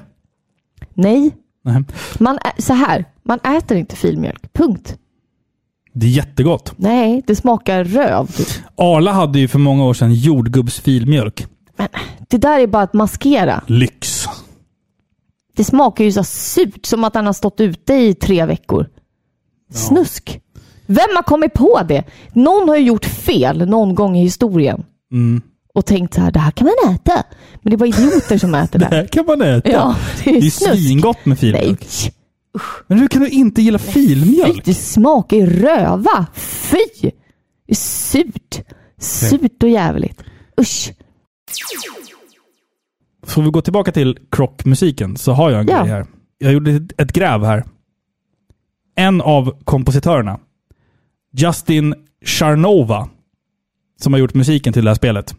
B: Nej,
A: Nej.
B: man ä- så här. Man äter inte filmjölk. Punkt.
A: Det är jättegott.
B: Nej, det smakar röv. Typ.
A: Arla hade ju för många år sedan jordgubbsfilmjölk.
B: Det där är bara att maskera.
A: Lyx.
B: Det smakar ju så surt, som att han har stått ute i tre veckor. Snusk. Vem har kommit på det? Någon har ju gjort fel någon gång i historien
A: Mm.
B: och tänkt så här, det här kan man äta. Men det är bara idioter som äter
A: Det
B: det.
A: här kan man äta.
B: Ja, det
A: det
B: är
A: är ju
B: snusk.
A: svingott med
B: Nej,
A: filmjölk. Men hur kan du inte gilla filmjölk?
B: det smakar ju röva. Fy! Det är Surt. Surt och jävligt. Usch.
A: Får vi gå tillbaka till krockmusiken så har jag en
B: Ja.
A: grej här. Jag gjorde ett- ett gräv här. En av kompositörerna, Justin Charnova, som har gjort musiken till det här spelet,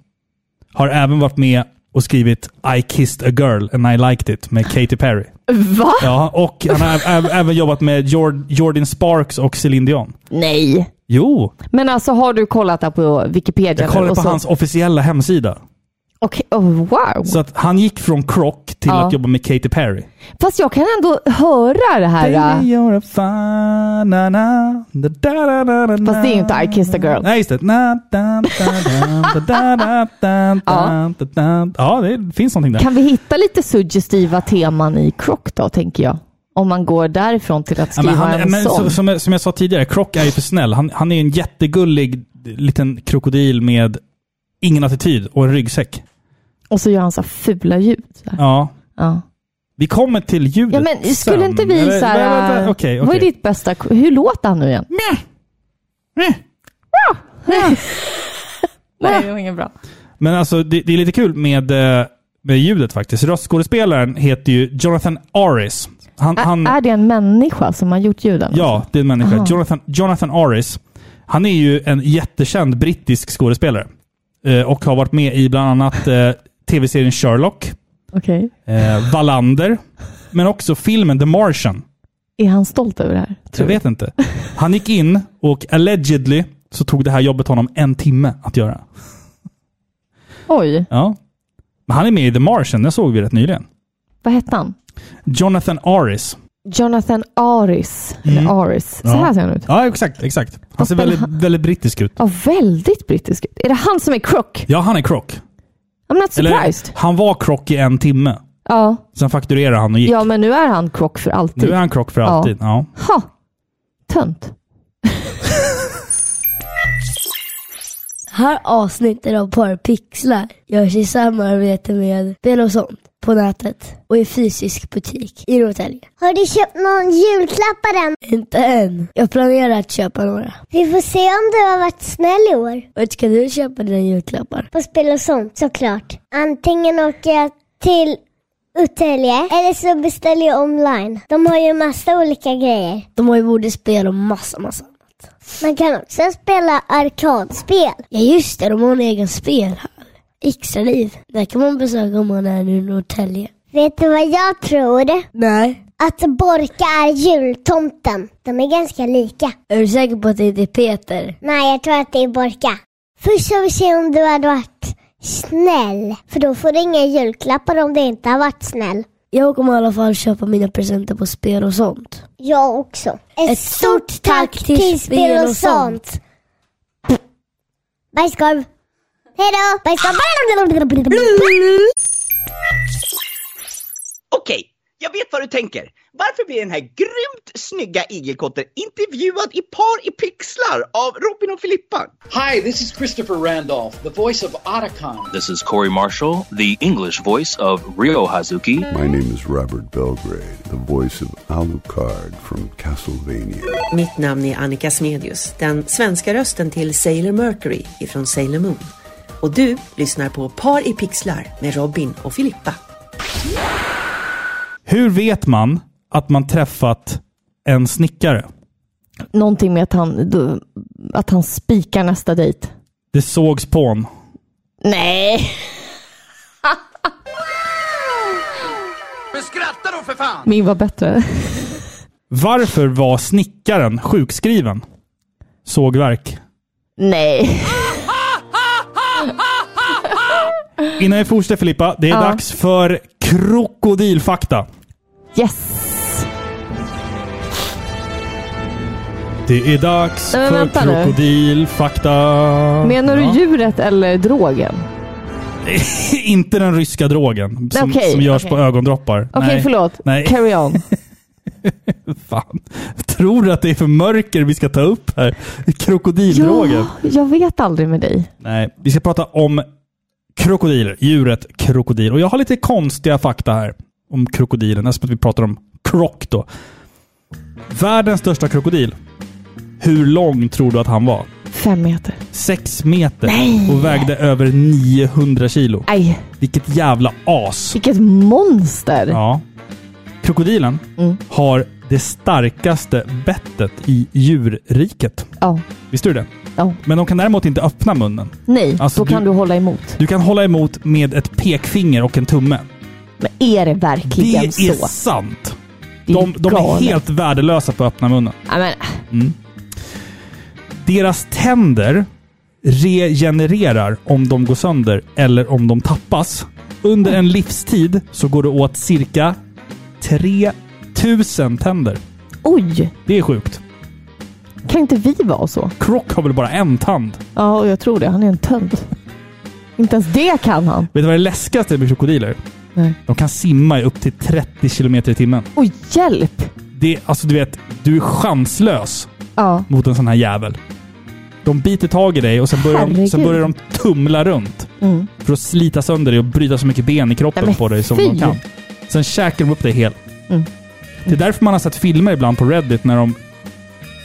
A: har även varit med och skrivit I kissed a girl and I liked it med Katy Perry.
B: Va?
A: Ja, och han har ä- ä- även jobbat med Jord- Jordan Sparks och Celine Dion.
B: Nej.
A: Jo,
B: Men alltså har du kollat där på Wikipedia?
A: jag
B: nu?
A: kollade
B: Och
A: på
B: så-
A: hans officiella hemsida.
B: Okej, oh, wow.
A: Så att han gick från krock till
B: Ja.
A: att jobba med Katy Perry.
B: Fast jag kan ändå höra det här. äh,
A: Baby, you're a fine, na, na, da, da, da, da, da,
B: Fast det är ju inte I Kissed a Girl.
A: Nej, just det. Na, da, da, da, da, da, da, da,
B: Ja.
A: da, da. Ja, det finns någonting där.
B: Kan vi hitta lite suggestiva teman i Croc då, tänker jag? Om man går därifrån till att
A: Ja,
B: skriva
A: men han,
B: en
A: men,
B: sång.
A: så- som, jag- som jag sa tidigare, Krock är ju för snäll. Han, han är ju en jättegullig liten krokodil med ingen attityd och en ryggsäck.
B: Och så gör han så här fula ljud. Så här.
A: Ja.
B: Ja.
A: Vi kommer till ljudet
B: ja, men skulle inte vi
A: Eller-
B: så här...
A: vänta, vänta,
B: äh,
A: Okej,
B: Vad är
A: okej.
B: ditt bästa... Hur låter han nu igen?
A: Meh. Meh.
B: Nej, det var inget bra.
A: Men alltså, det, det är lite kul med, eh, med ljudet faktiskt. Röstskådespelaren heter ju Jonathan Aris. Han, han,
B: Är det en människa som har gjort ljuden?
A: ja, det är en människa.
B: Aha.
A: Jonathan, Jonathan Aris. Han är ju en jättekänd brittisk skådespelare. Eh, och har varit med i bland annat eh, tv-serien Sherlock,
B: Okej.
A: eh, Wallander, men också filmen The Martian.
B: Är han stolt över det här?
A: Jag
B: Tror du?
A: vet inte. Han gick in och allegedly så tog det här jobbet honom en timme att göra.
B: Oj,
A: Ja. Men han är med i The Martian, den såg vi rätt nyligen.
B: vad hette han?
A: Jonathan Aris.
B: Jonathan Aris.
A: Mm.
B: Eller Aris. Så
A: Ja.
B: här ser han ut.
A: Ja, exakt. exakt. Han
B: Fast
A: ser
B: den
A: väldigt, väldigt brittisk ut.
B: Ja, väldigt brittisk ut. Är det han som är Croc?
A: Ja, han är krock.
B: I'm not surprised.
A: han var krock i en timme.
B: Ja.
A: Sen fakturerade han och gick.
B: ja, men nu är han krock för alltid.
A: nu är han krock för
B: Ja.
A: alltid. Ja.
B: Ha! Tönt.
C: Här avsnittet av Porrpixlar görs i samarbete med Spel och sånt på nätet och i fysisk butik i Norrtälje.
D: Har du köpt någon julklappar än?
C: Inte än. Jag planerar att köpa några.
D: Vi får se om du har varit snäll i år.
C: Vart ska du köpa dina julklappar?
D: På spel och sånt såklart. Antingen åker jag till Utälje eller så beställer jag online. De har ju massa olika grejer.
C: De har ju både spel och massa, massa.
D: Man kan också spela arkadspel.
C: Ja just det, de har en egen spelhall. Extraliv. Där kan man besöka om man är i Norrtälje.
D: Vet du vad jag tror?
C: Nej.
D: Att Borka är jultomten. De är ganska lika.
C: Är du säker på att det inte är Peter?
D: Nej, jag tror att det är Borka. Först ska vi se om du hade varit snäll. För då får du inga julklappar om du inte har varit snäll.
C: Jag kommer i alla fall köpa mina presenter på spel och sånt.
D: Jag också. Ett, stort tack till, Spel och sånt. Bajskorv. Hej då! Bajskorv.
E: Okej, jag vet vad du tänker. Varför blir den här grymt snygga igelkotten intervjuad i par i pixlar av Robin och Filippa?
F: Hi, this is Christopher Randolph, the voice of Otacon.
G: This is Corey Marshall, the English voice of Ryo Hazuki.
H: My name is Robert Belgrade, the voice of Alucard from Castlevania.
I: Mitt namn är Annika Smedius, den svenska rösten till Sailor Mercury ifrån Sailor Moon. Och du lyssnar på Par i pixlar med Robin och Filippa.
A: Hur vet man att man träffat en snickare?
B: Någonting med att han, då- att han spikar nästa dejt.
A: Det sågs på en.
B: Nej!
E: Men skratta då för fan!
B: Min var bättre.
A: Varför var snickaren sjukskriven? Sågverk.
B: Nej.
A: Innan vi fortsätter Filippa, det är
B: Ja.
A: dags för krokodilfakta.
B: Yes!
A: Det är dags
B: Nej, men
A: för
B: vänta nu.
A: krokodilfakta.
B: Menar
A: Ja.
B: du djuret eller drogen?
A: Inte den ryska drogen som,
B: Okej,
A: som görs
B: okej.
A: på ögondroppar.
B: Okej,
A: Nej.
B: förlåt.
A: Nej.
B: Carry on.
A: Fan. Tror du att det är för mörker vi ska ta upp här? Krokodildrogen.
B: Ja, jag vet aldrig med dig.
A: Nej, vi ska prata om krokodiler. Djuret krokodil. Och jag har lite konstiga fakta här om krokodilen. Eftersom att vi pratar om krock då. Världens största krokodil. Hur lång tror du att han var?
B: Fem meter.
A: Sex meter
B: Nej.
A: och vägde över 900 kilo.
B: Nej,
A: Vilket jävla as!
B: vilket monster!
A: Ja. Krokodilen
B: Mm.
A: har det starkaste bettet i djurriket.
B: Ja.
A: Visste du det?
B: Ja.
A: Men de kan däremot inte öppna munnen.
B: Nej,
A: Alltså,
B: då kan
A: du-
B: du hålla emot.
A: Du kan hålla emot med ett pekfinger och en tumme.
B: Men är det verkligen
A: det
B: så?
A: är sant!
B: Det
A: De, de är
B: galet.
A: helt värdelösa på att öppna munnen.
B: Ja, men,
A: Deras tänder regenererar om de går sönder eller om de tappas. Under en livstid så går det åt cirka 3000 tänder.
B: oj!
A: Det är sjukt.
B: Kan inte vi vara så?
A: Croc har väl bara en tand?
B: Ja, och jag tror det. Han är en tönt. Inte ens det kan han.
A: Vet du vad det läskigaste med krokodiler?
B: Nej.
A: De kan simma i upp till 30 kilometer i timmen.
B: Oj, hjälp!
A: Det, är- alltså du vet, du är chanslös
B: Ja,
A: mot en sån här jävel. De biter tag i dig och sen börjar, de,
B: Herregud.
A: sen börjar de tumla runt
B: mm.
A: för att slita sönder dig och bryta så mycket ben i kroppen
B: Nej, men
A: på dig som
B: fy!
A: de kan. Sen käkar de upp dig hel.
B: Mm.
A: Det är därför man har sett filmer ibland på Reddit när de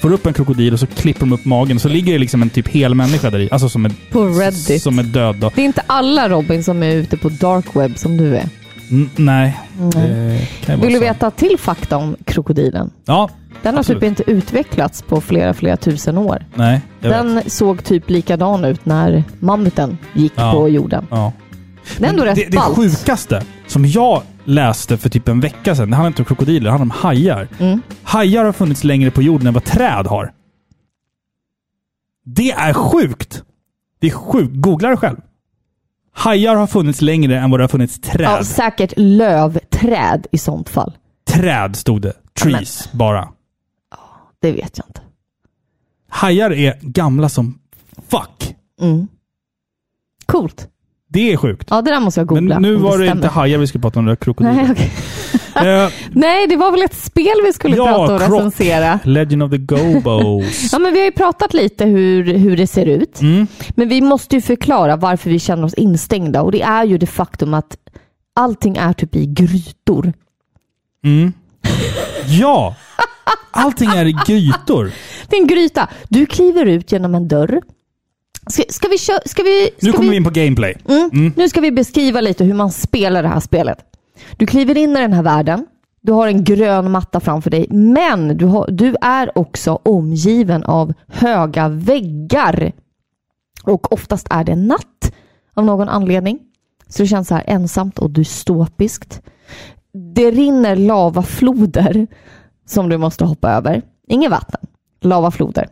A: får upp en krokodil och så klipper de upp magen och så ligger det liksom en typ hel människa där i. Alltså som är,
B: på Reddit.
A: som är död då.
B: Det är inte alla Robin som är ute på dark web som du är.
A: N- nej. Det kan ju
B: Vill du
A: vara så.
B: veta till fakta om krokodilen?
A: Ja.
B: Den har
A: Absolut.
B: typ inte utvecklats på flera, flera tusen år.
A: Nej. Jag vet.
B: Den såg typ likadan ut när mammuten gick
A: Ja.
B: på jorden.
A: Ja.
B: Det är ändå
A: Men
B: rätt
A: det, det
B: ballt.
A: sjukaste som jag läste för typ en vecka sedan, det handlar inte om krokodiler, det handlar om hajar.
B: Mm.
A: Hajar har funnits längre på jorden än vad träd har. Det är sjukt! Det är sjukt. Googla det själv. Hajar har funnits längre än vad det har funnits träd.
B: Ja, säkert lövträd i sånt fall.
A: Träd stod det. Trees bara.
B: Det vet jag inte.
A: Hajar är gamla som fuck.
B: Mm. Coolt.
A: Det är sjukt.
B: Ja, det där måste jag googla.
A: Men nu
B: om
A: var det
B: stämmer.
A: inte hajar vi skulle prata om, det var krokodiler.
B: Nej, okej.
A: Eh,
B: Nej, det var väl ett spel vi skulle
A: Ja,
B: prata och
A: krock.
B: recensera.
A: Legend of the Gobos.
B: Ja, men vi har ju pratat lite hur, hur det ser ut.
A: Mm.
B: Men vi måste ju förklara varför vi känner oss instängda och det är ju det faktum att allting är typ i grytor.
A: Ja! Allting är i grytor.
B: Det är en gryta. Du kliver ut genom en dörr. Ska, ska vi köra... Ska vi, ska
A: Nu kommer vi
B: vi
A: in på gameplay.
B: Mm. Nu ska vi beskriva lite hur man spelar det här spelet. Du kliver in i den här världen. Du har en grön matta framför dig, men du, har, du är också omgiven av höga väggar. Och oftast är det natt av någon anledning. Så det känns så här ensamt och dystopiskt. Det rinner lavafloder som du måste hoppa över. Inget vatten, lavafloder.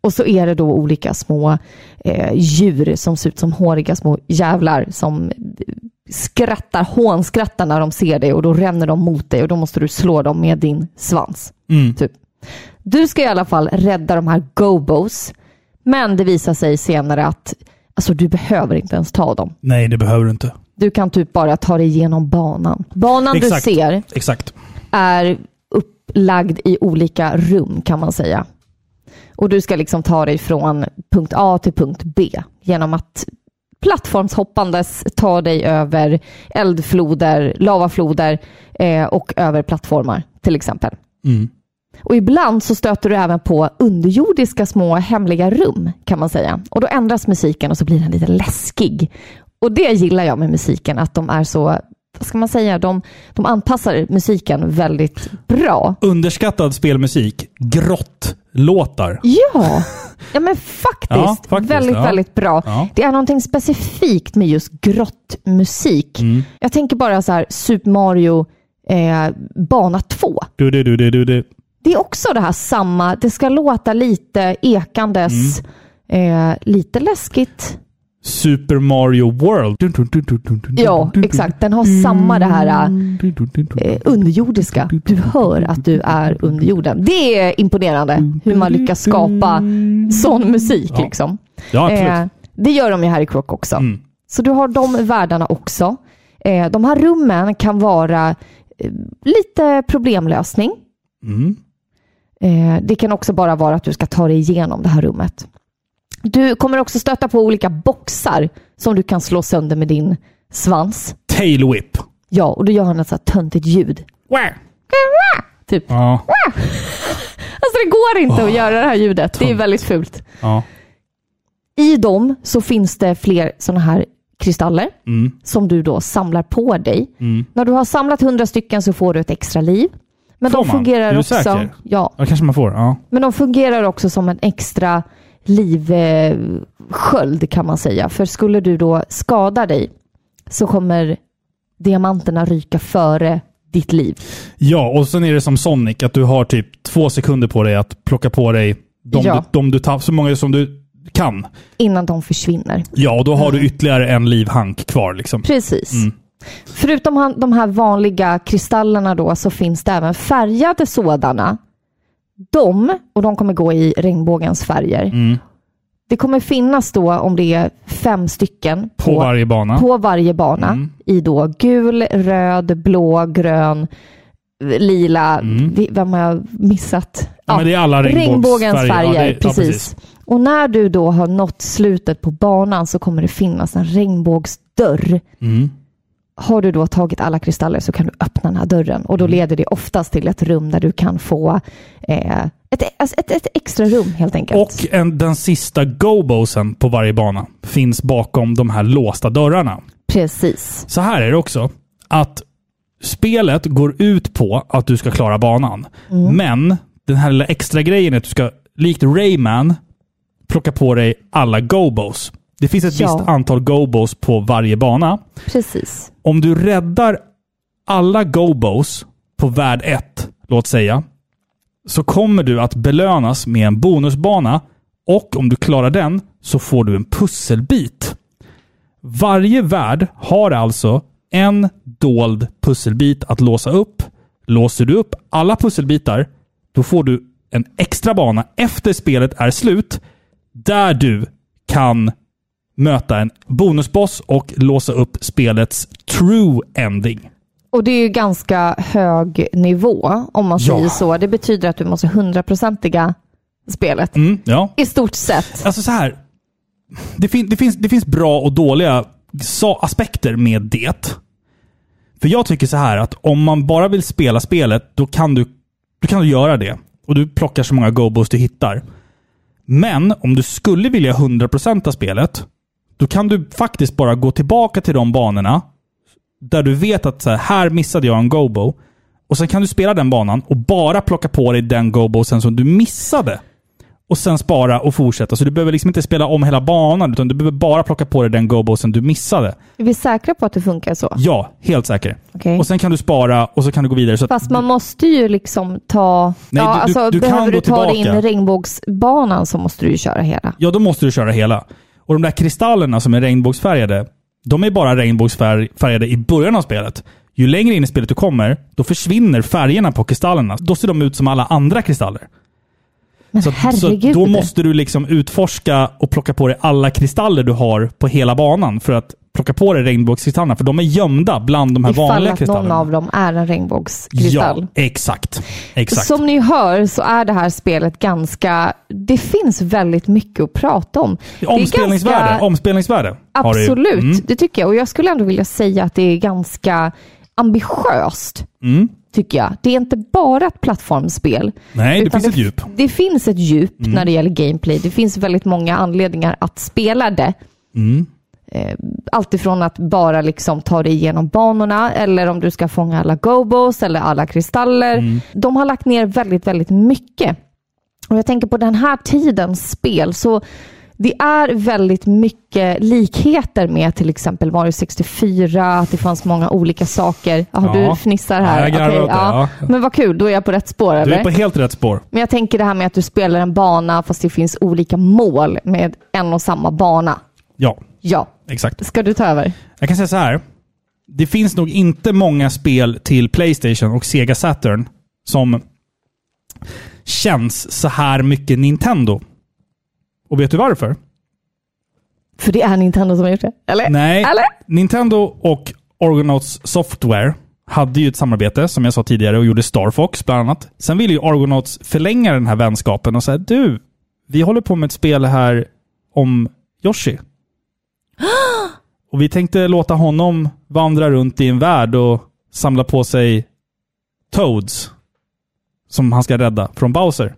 B: Och så är det då olika små eh, djur som ser ut som håriga små jävlar som skrattar, hånskrattar när de ser dig och då ränner de mot dig och då måste du slå dem med din svans. Typ. Du ska i alla fall rädda de här gobos, men det visar sig senare att alltså, du behöver inte ens ta dem.
A: Nej, det behöver du inte.
B: Du kan typ bara ta dig igenom banan. Banan
A: Exakt.
B: du ser
A: Exakt.
B: är upplagd i olika rum kan man säga. Och du ska liksom ta dig från punkt A till punkt B genom att plattformshoppandes ta dig över eldfloder, lavafloder eh, och över plattformar till exempel. Och ibland så stöter du även på underjordiska små hemliga rum kan man säga. Och då ändras musiken och så blir den lite läskig. Och det gillar jag med musiken, att de är så, vad ska man säga, de, de anpassar musiken väldigt bra.
A: Underskattad spelmusik. Grottlåtar.
B: Ja, ja men faktiskt.
A: Ja, faktiskt,
B: väldigt,
A: ja.
B: väldigt bra.
A: Ja.
B: Det är någonting specifikt med just grottmusik.
A: Mm.
B: Jag tänker bara så här, Super Mario eh, bana 2.
A: Du, du, du, du, du, du.
B: Det är också det här samma, det ska låta lite ekandes, eh, lite läskigt.
A: Super Mario World.
B: Ja, exakt. Den har samma det här eh, underjordiska. Du hör att du är under jorden. Det är imponerande hur man lyckas skapa sån musik.
A: Ja.
B: Liksom.
A: Ja, absolut. Mm.
B: Eh, det gör de ju här i Crook också. Så du har de världarna också. Eh, de här rummen kan vara eh, lite problemlösning.
A: Mm.
B: Eh, det kan också bara vara att du ska ta dig igenom det här rummet. Du kommer också stöta på olika boxar som du kan slå sönder med din svans.
A: Tail Whip.
B: Ja, och då gör han ett så här töntigt ljud. Typ.
A: Ja,
B: Alltså det går inte
A: Ah,
B: att göra det här ljudet. Det är väldigt fult.
A: ja.
B: I dem så finns det fler sådana här kristaller
A: Mm.
B: som du då samlar på dig. När du har samlat hundra stycken så får du ett extra liv. Men
A: Får
B: de
A: man?
B: fungerar
A: Är du
B: också...
A: säker?
B: Ja,
A: ja kanske man får. Ja.
B: Men de fungerar också som en extra livsköld kan man säga. För skulle du då skada dig så kommer diamanterna ryka före ditt liv.
A: ja, och sen är det som Sonic, att du har typ två sekunder på dig att plocka på dig de
B: Ja.
A: du, de du tar, så många som du kan.
B: Innan de försvinner.
A: Ja, och då har
B: Mm.
A: du ytterligare en livhank kvar. Liksom.
B: Precis. Förutom han- de här vanliga kristallerna då så finns det även färgade sådana. De, och de kommer gå i regnbågens färger.
A: Mm.
B: Det kommer finnas då om det är fem stycken
A: På Mm. varje bana.
B: på varje bana i då gul, röd, blå, grön, lila. Vi- Vem har jag missat?
A: Mm. Ja, men det är alla
B: regnbågens
A: regnbågsfärger.
B: färger.
A: Ja, det- ja,
B: precis.
A: precis.
B: Och när du då har nått slutet på banan så kommer det finnas en regnbågsdörr.
A: Mm.
B: Har du då tagit alla kristaller så kan du öppna den här dörren och
A: Mm.
B: då leder det oftast till ett rum där du kan få eh, ett, alltså ett, ett extra rum helt enkelt.
A: Och en, den sista go-bosen på varje bana finns bakom de här låsta dörrarna.
B: Precis.
A: Så här är det också. Att spelet går ut på att du ska klara banan. Men den här lilla extra grejen är att du ska, likt Rayman, plocka på dig alla gobos. Det finns ett
B: Ja.
A: visst antal gobos på varje bana.
B: Precis.
A: Om du räddar alla gobos på värld 1, låt säga, så kommer du att belönas med en bonusbana och om du klarar den så får du en pusselbit. Varje värld har alltså en dold pusselbit att låsa upp. Låser du upp alla pusselbitar, då får du en extra bana efter spelet är slut där du kan möta en bonusboss och låsa upp spelets true ending.
B: Och det är ju ganska hög nivå om man
A: Ja.
B: säger så. Det betyder att du måste hundraprocentiga spelet.
A: Mm, ja.
B: I stort sett.
A: Alltså så här. Det, fin- det, finns, det finns bra och dåliga sa- aspekter med det. För jag tycker så här att om man bara vill spela spelet, då kan du, då kan du göra det. Och du plockar så många gobos du hittar. Men om du skulle vilja 100% spelet, då kan du faktiskt bara gå tillbaka till de banorna där du vet att så här, här missade jag en gobo. Och sen kan du spela den banan och bara plocka på dig den gobosen som du missade och sen spara och fortsätta. Så du behöver liksom inte spela om hela banan, utan du behöver bara plocka på dig den gobosen du missade.
B: Är vi säkra på att det funkar så?
A: Ja, helt säker.
B: Okej.
A: Och sen kan du spara och så kan du gå vidare. Så att,
B: Fast man måste ju liksom ta...
A: Nej,
B: ja,
A: du- du-
B: alltså,
A: du kan
B: behöver du
A: gå
B: ta dig in
A: tillbaka.
B: i regnbågsbanan så måste du ju köra hela.
A: ja, då måste du köra hela. Och de där kristallerna som är regnbågsfärgade, de är bara regnbågsfärgade i början av spelet. Ju längre in i spelet du kommer, då försvinner färgerna på kristallerna. Då ser de ut som alla andra kristaller.
B: Men
A: Så, att- så
B: herregud.
A: då måste du liksom utforska och plocka på dig alla kristaller du har på hela banan för att plocka på dig regnbågskristallerna. För de är gömda bland de här
B: ifall
A: vanliga
B: att någon
A: kristallerna.
B: av dem är en regnbågskristall.
A: Ja, exakt. exakt.
B: Som ni hör så är det här spelet ganska... Det finns väldigt mycket att prata om. Det är
A: omspelningsvärde.
B: ganska-
A: Omspelningsvärde. har det ju.
B: Absolut,
A: Mm.
B: det tycker jag. Och jag skulle ändå vilja säga att det är ganska ambitiöst.
A: Mm.
B: Tycker jag. Det är inte bara ett plattformsspel.
A: Nej, det
B: utan
A: finns ett djup. Mm.
B: Det finns ett djup när det gäller gameplay. Det finns väldigt många anledningar att spela det.
A: Mm.
B: Eh, Alltifrån att bara liksom ta dig igenom banorna eller om du ska fånga alla gobos eller alla kristaller.
A: Mm.
B: De har lagt ner väldigt, väldigt mycket. Och jag tänker på den här tidens spel så det är väldigt mycket likheter med till exempel Mario 64, att det fanns många olika saker. Jaha,
A: Ja.
B: du fnissar
A: Ja,
B: här.
A: jag garvar
B: Okej,
A: åt det, ja.
B: Men vad kul, då är jag på rätt spår.
A: Du
B: eller?
A: är på helt rätt spår.
B: Men jag tänker det här med att du spelar en bana fast det finns olika mål med en och samma bana.
A: Ja.
B: Ja.
A: Exakt.
B: Ska du ta över?
A: Jag kan säga så här. Det finns nog inte många spel till Playstation och Sega Saturn som känns så här mycket Nintendo. Och vet du varför?
B: För det är Nintendo som har gjort det. Eller?
A: Nej.
B: Eller?
A: Nintendo och Argonauts Software hade ju ett samarbete, som jag sa tidigare, och gjorde Star Fox bland annat. Sen ville ju Argonauts förlänga den här vänskapen och säga du, vi håller på med ett spel här om Yoshi. och vi tänkte låta honom vandra runt i en värld och samla på sig Toads som han ska rädda från Bowser.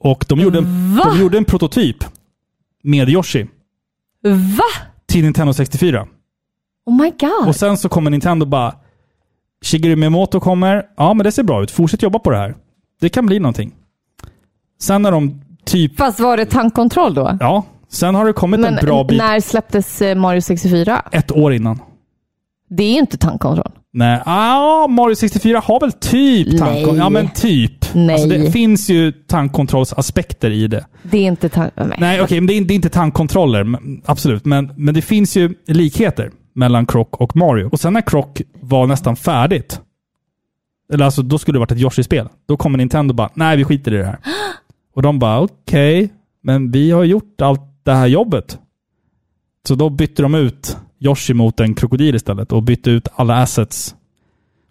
A: Och de gjorde en, de gjorde en prototyp med Yoshi
B: Va?
A: till Nintendo 64.
B: Oh my god.
A: Och sen så kommer Nintendo bara... Shigeru Miyamoto kommer. Ja, men det ser bra ut. Fortsätt jobba på det här. Det kan bli någonting. Sen när de typ...
B: Fast var det tankkontroll då?
A: Ja, sen har det kommit
B: Men
A: en bra bit
B: när släpptes eh, Mario 64?
A: ett år innan.
B: Det är ju inte tankkontroll.
A: Nej, ah, Mario 64 har väl typ tankkontroll?
B: Nej.
A: Ja, men typ.
B: Nej.
A: Alltså, det finns ju tankkontrollsaspekter i det.
B: Det är inte tankkontroll. Nej.
A: Nej, okej, men det är, det är inte tankkontroller. men- Absolut. Men, men det finns ju likheter mellan Croc och Mario. Och sen när Croc var nästan färdigt, eller alltså då skulle det varit ett Yoshi-spel. Då kommer Nintendo bara, nej vi skiter i det här. Och de bara, okej, men vi har gjort allt det här jobbet. Så då bytte de ut Yoshi mot en krokodil istället och bytte ut alla assets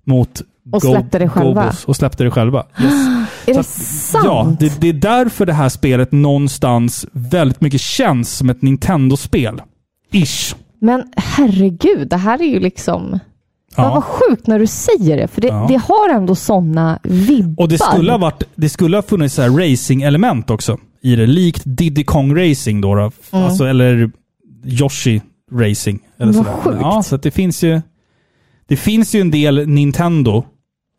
A: mot
B: Och
A: Go-
B: släppte det själva.
A: Gobos och släppte det själva. Yes.
B: Är
A: Så
B: det
A: att-
B: sant?
A: Ja, det, det är därför det här spelet någonstans väldigt mycket känns som ett Nintendo-spel. Ish.
B: Men herregud, det här är ju liksom...
A: Ja.
B: Vad, vad sjukt när du säger det, för det,
A: Ja.
B: det har ändå sådana vibbar.
A: Och det skulle ha, varit, det skulle ha funnits så här racing-element också i det. Likt Diddy Kong Racing då. då. Alltså, eller Yoshi Racing. Eller
B: Vad
A: sådär.
B: sjukt.
A: Ja, så att det finns ju... Det finns ju en del Nintendo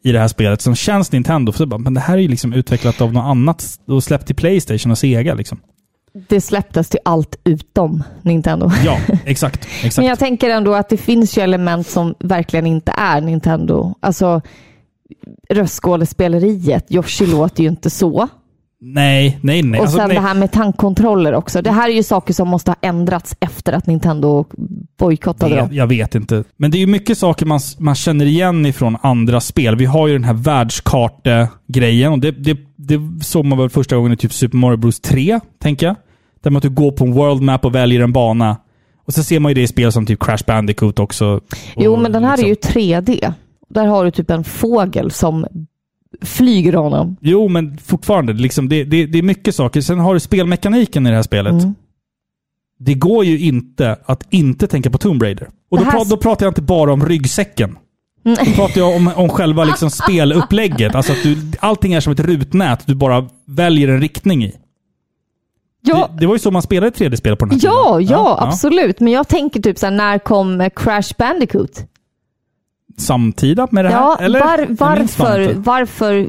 A: i det här spelet som känns Nintendo. För så bara, men det här är ju liksom utvecklat av något annat och släppt till Playstation och Sega. Liksom.
B: Det släpptes till allt utom Nintendo.
A: Ja, exakt. exakt.
B: Men jag tänker ändå att det finns ju element som verkligen inte är Nintendo. Alltså röstskådespeleriet. Yoshi låter ju inte så.
A: Nej, nej, nej.
B: Och
A: Alltså,
B: sen
A: nej.
B: det här med tankkontroller också. Det här är ju saker som måste ha ändrats efter att Nintendo bojkottade
A: Det,
B: dem.
A: jag vet inte. Men det är ju mycket saker man, man känner igen ifrån andra spel. Vi har ju den här världskartegrejen och det, det, det såg man väl första gången i typ Super Mario Bros 3, tänker jag. Där man att du går på en world map och väljer en bana. Och så ser man ju det i spel som typ Crash Bandicoot också. Och
B: Jo, men den här är
A: liksom-
B: ju 3D. Där har du typ en fågel som flyger honom.
A: Jo, men fortfarande. Liksom, det, det, det är mycket saker. Sen har du spelmekaniken i det här spelet.
B: Mm.
A: Det går ju inte att inte tänka på Tomb Raider. Och då,
B: Det här-
A: pra- då pratar jag inte bara om ryggsäcken. Då pratar jag om, om själva liksom spelupplägget. Alltså att du, allting är som ett rutnät. Du bara väljer en riktning i.
B: Ja,
A: Det, det var ju så man spelade 3D-spel på den här tiden.
B: ja, ja, absolut. Men jag tänker typ så här, när kom eh, Crash Bandicoot?
A: Samtida med det här?
B: Ja,
A: eller? Jag
B: var,
A: minns fan
B: varför,
A: inte.
B: varför...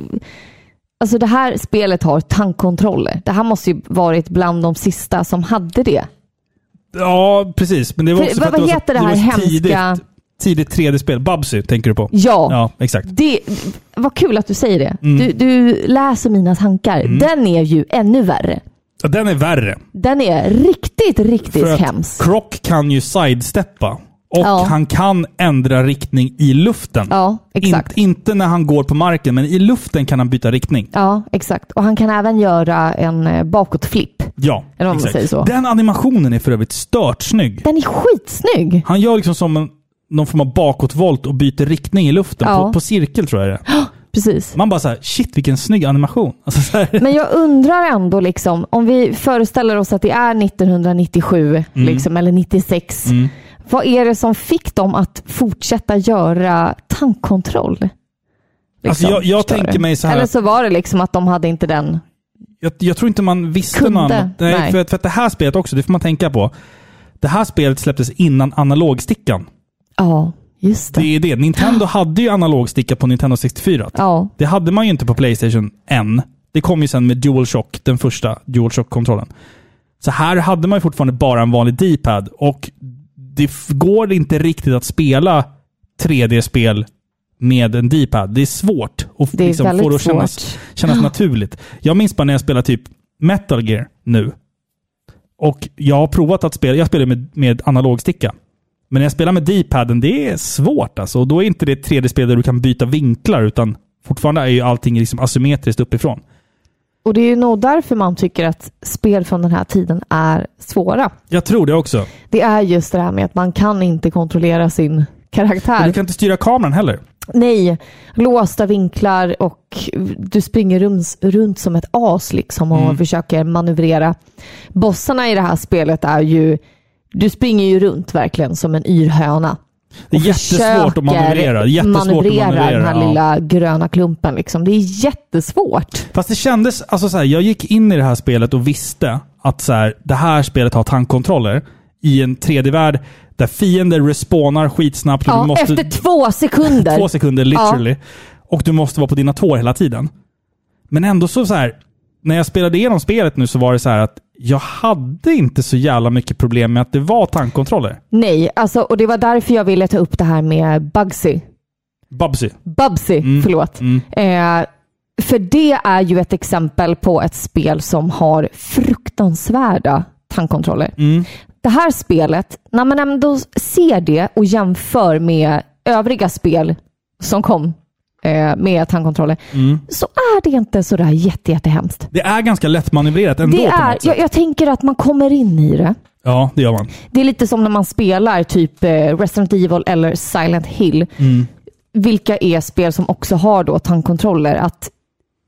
B: Alltså det här spelet har tankkontroller. Det här måste ju varit bland de sista som hade det.
A: Ja, precis. Men det var
B: För-
A: också
B: vad-
A: för att
B: vad
A: det
B: heter det
A: var så,
B: här
A: var så
B: hemska-
A: Tidigt, tidigt 3D-spel. Babsy tänker du på?
B: Ja.
A: Ja, exakt.
B: Det, vad kul att du säger det.
A: Mm.
B: Du, du läser mina tankar. Den är ju ännu värre.
A: Ja, Den är värre.
B: Den är riktigt, riktigt
A: För att
B: hemsk.
A: Croc kan ju sidesteppa. Och
B: Ja.
A: han kan ändra riktning i luften.
B: Ja, exakt.
A: In, inte när han går på marken, men i luften kan han byta riktning.
B: Ja, exakt. Och han kan även göra en eh, bakåtflipp.
A: Ja,
B: Eller vad man säger så.
A: Den animationen är för övrigt stört snygg.
B: Den är skitsnygg.
A: Han gör liksom som en, någon form av bakåtvolt och byter riktning i luften.
B: Ja.
A: På, på cirkel tror jag det är.
B: Precis.
A: Man bara såhär, shit vilken snygg animation. Alltså, så här.
B: Men jag undrar ändå, liksom, om vi föreställer oss att det är 1997
A: Mm.
B: liksom, eller 96. Vad är det som fick dem att fortsätta göra tankkontroll? Liksom,
A: Alltså, jag- jag
B: förstår du?
A: tänker mig så här
B: Eller
A: att-
B: så var det liksom att de hade inte den.
A: jag, jag tror inte man visste
B: Kunde.
A: något annat. Nej,
B: Nej.
A: För, att- för att det här spelet också, det får man tänka på. Det här spelet släpptes innan analogstickan.
B: Ja, just det.
A: Det är det. Nintendo hade ju analogsticka på Nintendo 64.
B: Ja,
A: Det hade man ju inte på Playstation än. Det kom ju sen med DualShock, den första DualShock-kontrollen. Så här hade man ju fortfarande bara en vanlig D-pad och det f- går inte riktigt att spela 3D-spel med en D-pad. Det är svårt att f- liksom
B: Det är väldigt
A: få det att kännas,
B: svårt.
A: kännas naturligt. Jag minns bara när jag spelade typ Metal Gear nu. Och jag har provat att spela, jag spelar med, med analogsticka. Men när jag spelar med D-paden, det är svårt alltså. Och då är inte det ett 3D-spel där du kan byta vinklar, utan fortfarande är ju allting liksom asymmetriskt uppifrån.
B: Och det är ju nog därför man tycker att spel från den här tiden är svåra.
A: Jag tror det också.
B: Det är just det här med att man kan inte kontrollera sin
A: Och
B: karaktär.
A: du kan inte styra kameran heller.
B: Nej, låsta vinklar och du springer rums, runt som ett as liksom och
A: Mm.
B: försöker manövrera. Bossarna i det här spelet är ju... Du springer ju runt verkligen som en yr höna.
A: Det är
B: och
A: jättesvårt att manövrera.
B: försöker
A: Jättesvårt att
B: manövrera
A: manövrera,
B: den här
A: ja.
B: lilla gröna klumpen. Liksom. Det är jättesvårt.
A: Fast det kändes, alltså så här, jag gick in i det här spelet och visste att så här, det här spelet har tankkontroller i en 3D-värld där fiender respawnar skitsnabbt. och
B: Ja,
A: du måste,
B: efter två sekunder.
A: två sekunder literally. Och du måste vara på dina tår hela tiden. Men ändå så, så här, när jag spelade igenom spelet nu så var det så här att jag hade inte så jävla mycket problem med att det var tankkontroller.
B: Nej, alltså, och det var därför jag ville ta upp det här med Bugsy.
A: Babsy.
B: Bubsy, förlåt. Eh, för det är ju ett exempel på ett spel som har fruktansvärda tankkontroller. Det här spelet, när man ändå ser det och jämför med övriga spel som kom eh, med tankkontroller, så är det inte sådär jätte, jättehemskt.
A: Det är ganska lättmanövrerat ändå
B: Det
A: på
B: är,
A: något sätt.
B: jag, jag tänker att man kommer in i det.
A: Ja, det gör man.
B: Det är lite som när man spelar typ eh, Resident Evil eller Silent Hill.
A: Mm.
B: Vilka är spel som också har då tankkontroller. Att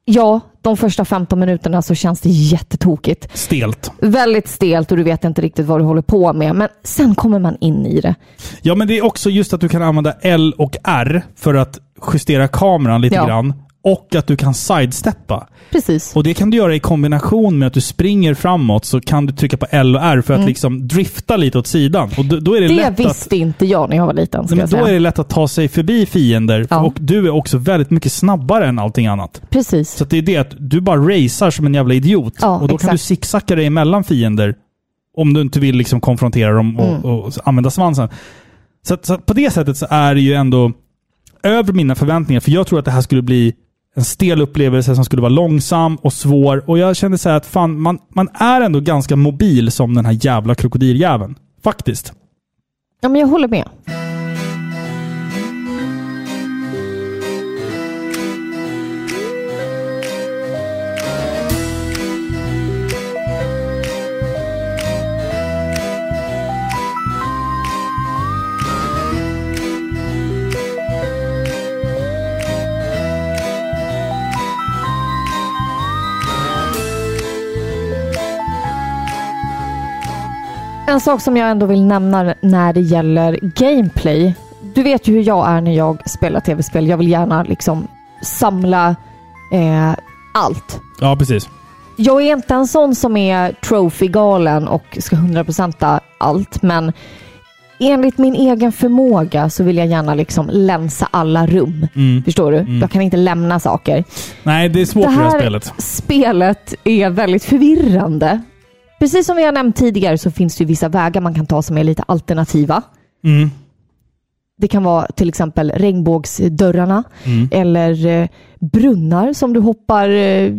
B: ja, de första 15 minuterna så känns det jättetokigt.
A: Stelt.
B: Väldigt stelt och du vet inte riktigt vad du håller på med. Men sen kommer man in i det.
A: Ja, men det är också just att du kan använda L och R för att justera kameran lite
B: Ja.
A: grann. Och att du kan sidesteppa.
B: Precis.
A: Och det kan du göra i kombination med att du springer framåt så kan du trycka på L och R för att liksom drifta lite åt sidan. Och då, då är det,
B: Mm. Det
A: lätt att...
B: visste inte jag när jag var liten. Ska
A: Nej, men
B: jag
A: då
B: säga.
A: är det lätt att ta sig förbi fiender.
B: Ja.
A: Och du är också väldigt mycket snabbare än allting annat.
B: Precis.
A: Så att det är det att du bara racear som en jävla idiot.
B: Ja,
A: och då kan
B: exakt.
A: du zigzacka dig emellan fiender. Om du inte vill liksom konfrontera dem
B: Mm.
A: och, och använda svansen. Så, att, så att på det sättet så är det ju ändå över mina förväntningar. För jag tror att det här skulle bli en stel upplevelse som skulle vara långsam och svår. Och jag kände så här att fan, man, man är ändå ganska mobil som den här jävla krokodiljäveln. Faktiskt.
B: Ja, men jag håller med. En sak som jag ändå vill nämna när det gäller gameplay. Du vet ju hur jag är när jag spelar tv-spel. Jag vill gärna liksom samla eh, allt.
A: Ja, precis.
B: Jag är inte en sån som är trophy-galen och ska 100% allt, men enligt min egen förmåga så vill jag gärna liksom länsa alla rum. Förstår du? Jag kan inte lämna saker.
A: Nej, det är svårt
B: Det
A: för det här
B: här-
A: spelet.
B: Spelet är väldigt förvirrande. Precis som vi har nämnt tidigare så finns det ju vissa vägar man kan ta som är lite alternativa.
A: Mm.
B: Det kan vara till exempel regnbågsdörrarna
A: Mm.
B: eller eh, brunnar som du hoppar eh,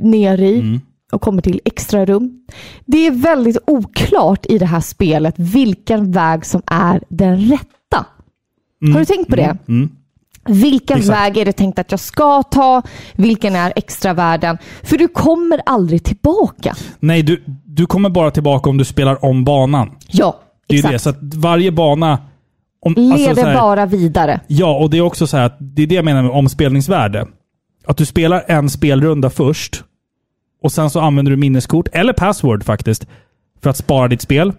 B: ner i
A: Mm.
B: och kommer till extra rum. Det är väldigt oklart i det här spelet vilken väg som är den rätta. Har du tänkt på det?
A: Mm.
B: Vilken
A: Exakt.
B: väg är det tänkt att jag ska ta? Vilken är extra värden? För du kommer aldrig tillbaka.
A: Nej, du, du kommer bara tillbaka om du spelar om banan.
B: Ja,
A: Det är ju
B: exakt.
A: det. Så att varje bana... Om,
B: Leder
A: alltså så här-
B: bara vidare.
A: Ja, och det är också så här att det är det jag menar med omspelningsvärde. Att du spelar en spelrunda först och sen så använder du minneskort, eller password faktiskt, för att spara ditt spel.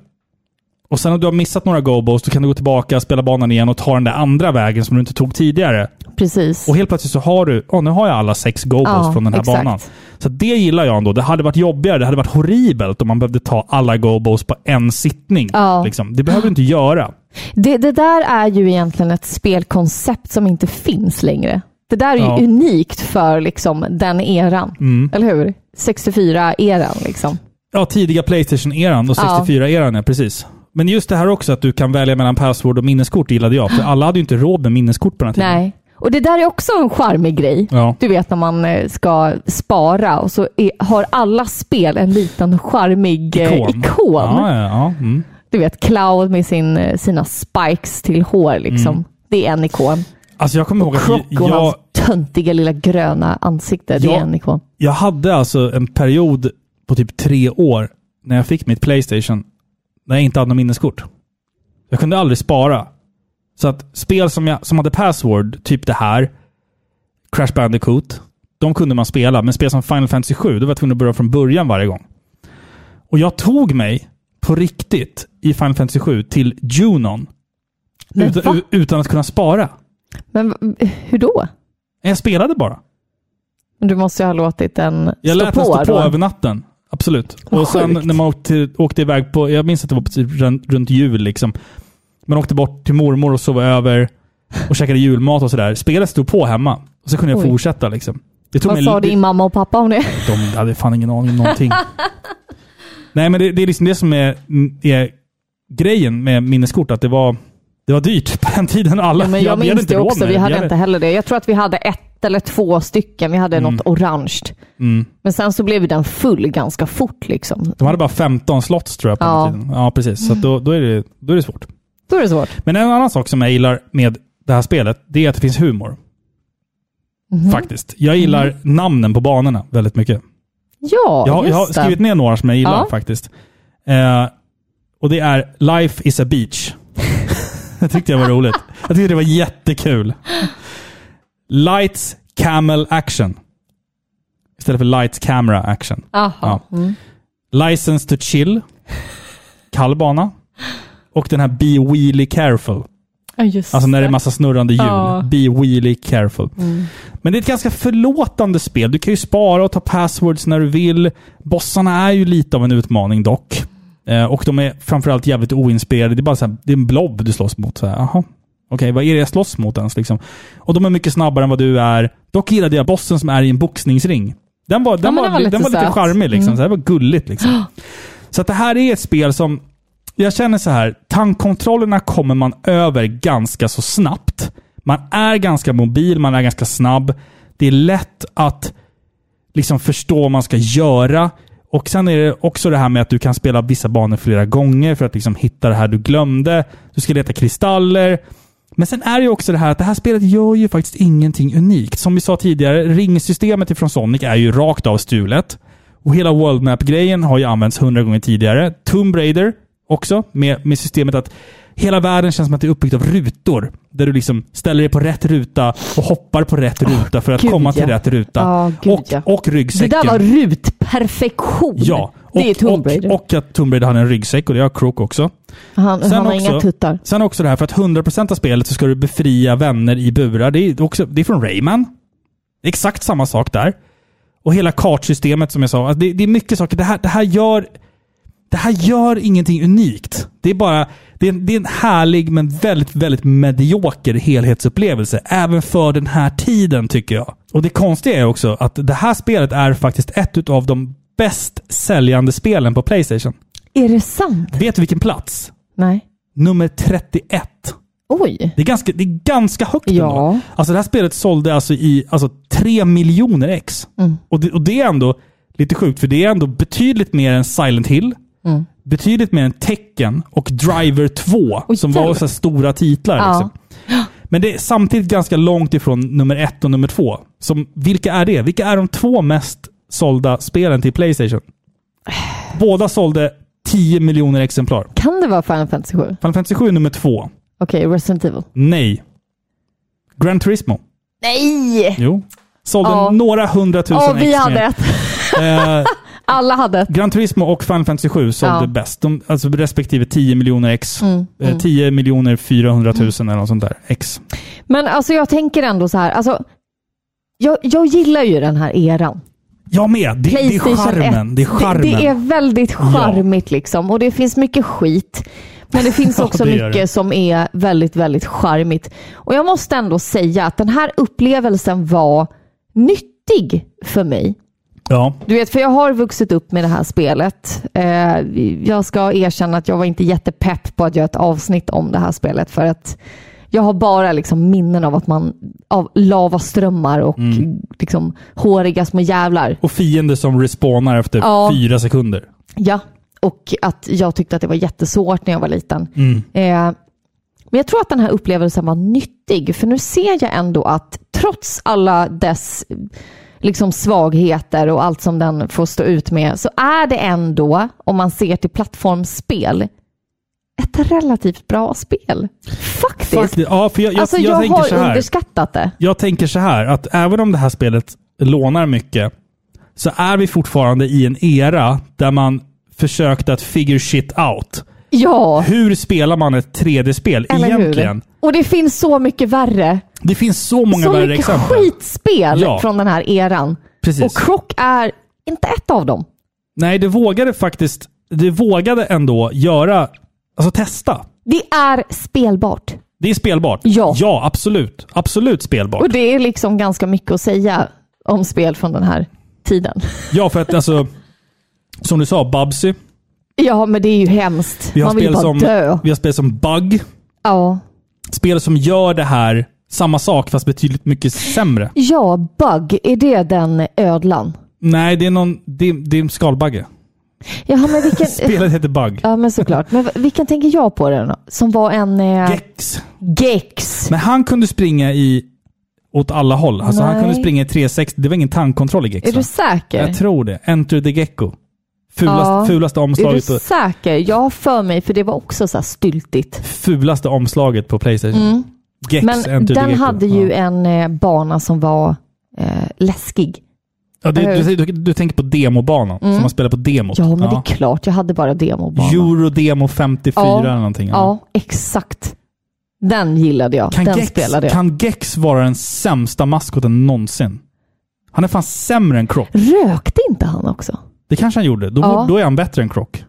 A: Och sen om du har missat några gobos, då kan du gå tillbaka, spela banan igen och ta den där andra vägen som du inte tog tidigare.
B: Precis.
A: Och helt plötsligt så har du, åh nu har jag alla sex gobos
B: Ja,
A: från den här
B: exakt.
A: banan. Så det gillar jag ändå. Det hade varit jobbigare, det hade varit horribelt om man behövde ta alla gobos på en sittning.
B: Ja.
A: Liksom. Det behöver du inte göra.
B: Det, det där är ju egentligen ett spelkoncept som inte finns längre. Det där är ju
A: Ja. Mm.
B: unikt för liksom den eran. Eller hur? 64-eran liksom.
A: Ja, tidiga Playstation-eran och
B: Ja.
A: 64-eran, ja precis. Men just det här också att du kan välja mellan password och minneskort gillade jag. För alla hade ju inte råd med minneskort på den här tiden.
B: Nej. Och det där är också en charmig grej.
A: Ja.
B: Du vet när man eh, ska spara och så är, har alla spel en liten charmig eh, ikon.
A: Ja, ja, ja. Mm.
B: Du vet Cloud med sin, eh, sina spikes till hår liksom. Det är en ikon.
A: Alltså Mm. jag kommer ihåg att
B: Croc och
A: jag,
B: hans töntiga lilla gröna ansikte, det
A: Ja.
B: är en ikon.
A: jag hade alltså en period på typ tre år när jag fick mitt Playstation när jag inte hade något minneskort. Jag kunde aldrig spara. Så att spel som, jag, som hade password, typ det här, Crash Bandicoot, de kunde man spela. Men spel som Final Fantasy 7, då var jag tvungen att börja från början varje gång. Och jag tog mig på riktigt i Final Fantasy 7 till Junon
B: Men va?
A: utan, utan att kunna spara.
B: Men v- hur då?
A: Jag spelade bara.
B: Du måste ju ha låtit den
A: Jag
B: stå
A: lät
B: på.
A: den stå på
B: då.
A: över natten. Absolut. och sen
B: sjukt.
A: när man åkte, åkte iväg på, jag minns att det var precis runt, runt jul liksom. Man åkte bort till mormor och sov över och käkade julmat och sådär. Spelet stod på hemma. Och så kunde jag
B: Oj.
A: fortsätta liksom. Det tog
B: Vad
A: mig-
B: sa din mamma och pappa om det?
A: De hade fan ingen aning om någonting. Nej men det, det är liksom det som är, är grejen med minneskort. Att det var, det var dyrt på den tiden. Alla,
B: Ja, men jag,
A: vi hade
B: minns
A: inte
B: det
A: råd
B: också.
A: med
B: Vi
A: det.
B: hade inte heller det. Jag tror att vi hade ett eller två stycken. Vi hade något orange.
A: Mm.
B: Men sen så blev den full ganska fort. Liksom.
A: De hade bara 15 slots tror jag på
B: Ja.
A: den tiden. Ja, precis. Så att då, då, är det, då är det svårt.
B: Då är det svårt.
A: Men en annan sak som jag gillar med det här spelet, det är att det finns humor.
B: Mhm.
A: Faktiskt. Jag gillar namnen på banorna väldigt mycket.
B: Ja,
A: Jag, har- jag har
B: just
A: skrivit
B: det.
A: ner några som jag gillar
B: Ja.
A: faktiskt. Eh, och det är Life is a beach. det tyckte jag var roligt. Jag tyckte det var jättekul. Lights Camel Action. Istället för Lights Camera Action.
B: Aha. Mm.
A: Ja. License to chill. Kall bana. Och den här Be Wheelie Careful.
B: Ja, just
A: Alltså när det är
B: det.
A: massa snurrande hjul.
B: Ja.
A: Be wheelie careful. Men det är ett ganska förlåtande spel. Du kan ju spara och ta passwords när du vill. Bossarna är ju lite av en utmaning dock. Eh, och de är framförallt jävligt oinspirerade. Det är bara så här, det är en blob du slåss mot. Så här, aha. Okej, vad är det jag slåss mot ens? Liksom. Och de är mycket snabbare än vad du är. Dock gillade jag bossen som är i en boxningsring. Den var, den
B: men
A: var,
B: den var
A: den
B: lite
A: var lite
B: söt. Mm.
A: charmig. Liksom. Så det var gulligt. Liksom. Så att det här är ett spel som jag känner så här, tankkontrollerna kommer man över ganska så snabbt. Man är ganska mobil, man är ganska snabb. Det är lätt att liksom förstå vad man ska göra. Och sen är det också det här med att du kan spela vissa banor flera gånger för att liksom hitta det här du glömde. Du ska leta kristaller. Men sen är det ju också det här att det här spelet gör ju faktiskt ingenting unikt. Som vi sa tidigare, ringsystemet ifrån Sonic är ju rakt av stulet. Och hela World Map-grejen har ju använts hundra gånger tidigare. Tomb Raider också, med, med systemet att hela världen känns som att det är uppbyggt av rutor. Där du liksom ställer dig på rätt ruta och hoppar på rätt ruta för att
B: gud,
A: komma till
B: ja.
A: rätt ruta.
B: Ja, gud,
A: och,
B: ja.
A: och
B: Det
A: ryggsäcken.
B: där var rutperfektion.
A: Ja, och,
B: det är Tomb Raider.
A: och, och att Tomb Raider hade en ryggsäck och det har Crook också.
B: han
A: sen
B: han har
A: också-
B: inga tuttar.
A: Sen också det här för att 100% av spelet så ska du befria vänner i burar. Det är, också, det är från Rayman. Det är exakt samma sak där. Och hela kartsystemet som jag sa. Alltså det, det är mycket saker. Det här, det, här gör, det här gör ingenting unikt. Det är bara det är, en- det är en härlig men väldigt, väldigt medioker helhetsupplevelse. Även för den här tiden tycker jag. Och det konstiga är också att det här spelet är faktiskt ett av de bäst säljande spelen på Playstation.
B: Är det sant?
A: Vet du vilken plats?
B: Nej.
A: Nummer 31.
B: Oj.
A: Det är ganska, det är ganska högt
B: Ja.
A: ändå. Alltså det här spelet sålde alltså i alltså 3 miljoner ex.
B: Mm.
A: Och, det, och det är ändå lite sjukt, för det är ändå betydligt mer än Silent Hill,
B: Mm.
A: betydligt mer än Tekken och Driver 2,
B: Oj,
A: som
B: jävlar.
A: var så här stora titlar.
B: Ja.
A: Liksom. Men det är samtidigt ganska långt ifrån nummer ett och nummer två. Som, vilka är det? Vilka är de två mest sålda spelen till Playstation? Båda sålde 10 miljoner exemplar.
B: Kan det vara Final Fantasy 7?
A: Final Fantasy 7 nummer två.
B: Okej, Resident Evil.
A: Nej. Gran Turismo.
B: Nej!
A: Jo. Sålde
B: Ja.
A: några hundratusen
B: Ja, vi
A: ex
B: hade
A: mer.
B: ett.
A: Eh,
B: Alla hade ett.
A: Gran Turismo och Final Fantasy 7 sålde
B: Ja. Mm,
A: bäst. De, alltså respektive 10 miljoner ex. Eh, 10 miljoner 400 000 eller något sånt där. Ex.
B: Men alltså jag tänker ändå så här. Alltså, jag, jag gillar ju den här eran.
A: Jag med! Det, det är charmen.
B: 1.
A: Det är charmen.
B: Det, det är väldigt charmigt liksom. Och det finns mycket skit. Men det finns
A: Ja,
B: också
A: det gör det.
B: mycket som är väldigt, väldigt charmigt. Och jag måste ändå säga att den här upplevelsen var nyttig för mig.
A: Ja.
B: Du vet, för jag har vuxit upp med det här spelet. Eh, jag ska erkänna att jag var inte jättepepp på att göra ett avsnitt om det här spelet för att Jag har bara liksom minnen av att man, av lavaströmmar och liksom håriga små jävlar.
A: Och fiender som respawnar efter
B: Ja.
A: fyra sekunder.
B: Ja, och att jag tyckte att det var jättesvårt när jag var liten.
A: Mm.
B: Eh, men jag tror att den här upplevelsen var nyttig, för nu ser jag ändå att trots alla dess eh, liksom svagheter och allt som den får stå ut med, så är det ändå, om man ser till plattformsspel, ett relativt bra spel. Faktiskt.
A: Fuck det. Ja, för jag, jag,
B: alltså,
A: jag,
B: jag,
A: tänker så
B: har
A: här.
B: underskattat det.
A: Jag tänker så här, att även om det här spelet lånar mycket, så är vi fortfarande i en era där man försökte att figure shit out.
B: Ja,
A: Hur spelar man ett 3D-spel
B: eller
A: egentligen?
B: hur? Och det finns så mycket värre
A: Det finns så många
B: så
A: värre
B: mycket
A: exempel.
B: skitspel
A: Ja.
B: från den här eran.
A: Precis.
B: Och Croc är inte ett av dem.
A: Nej, det vågade faktiskt, det vågade ändå göra, alltså testa.
B: Det är spelbart.
A: Det är spelbart.
B: Ja.
A: Ja, absolut. Absolut spelbart.
B: Och det är liksom ganska mycket att säga om spel från den här tiden.
A: Ja, för att alltså, som du sa, Babsy.
B: Ja, men det är ju hemskt.
A: Vi har,
B: Man vill
A: spel
B: bara
A: som,
B: dö.
A: vi har spel som Bug.
B: Ja.
A: Spel som gör det här samma sak fast betydligt mycket sämre.
B: ja, Bug, är det den ödlan?
A: Nej, det är någon... Det är, det är en skalbagge.
B: Jaha, men vilken...
A: Spelet heter Bug.
B: ja, men såklart. Men vilken tänker jag på den då? Som var en... Eh,
A: Gex.
B: Gex.
A: Men han kunde springa i... Åt alla håll. Alltså han
B: Nej.
A: kunde springa i 360. Det var ingen tandkontroll i Gex.
B: Är
A: va?
B: du säker?
A: alltså, Jag tror det. Enter the Gecko. Fulast,
B: Ja.
A: Fulaste
B: är du
A: omslaget på...
B: säker? Jag har för mig, för det var också så här styltigt.
A: Fulaste omslaget på Playstation. Gex,
B: Mm. Men
A: Enter the
B: den
A: Gecko.
B: hade ju
A: Ja.
B: en eh, bana som var eh, läskig.
A: Ja, det, du, du, du tänker på demobanan, som man spelar på demot.
B: Mm. Ja, men det är klart. Jag hade bara demobana.
A: Eurodemo 54
B: Ja.
A: eller någonting.
B: ja. exakt. Den gillade jag.
A: Kan
B: den
A: Gex,
B: spelade jag.
A: kan Gex vara den sämsta maskoten någonsin? Han är fan sämre än Krock.
B: Rökte inte han också?
A: Det kanske han gjorde. Då,
B: Ja.
A: då är han bättre än Krock.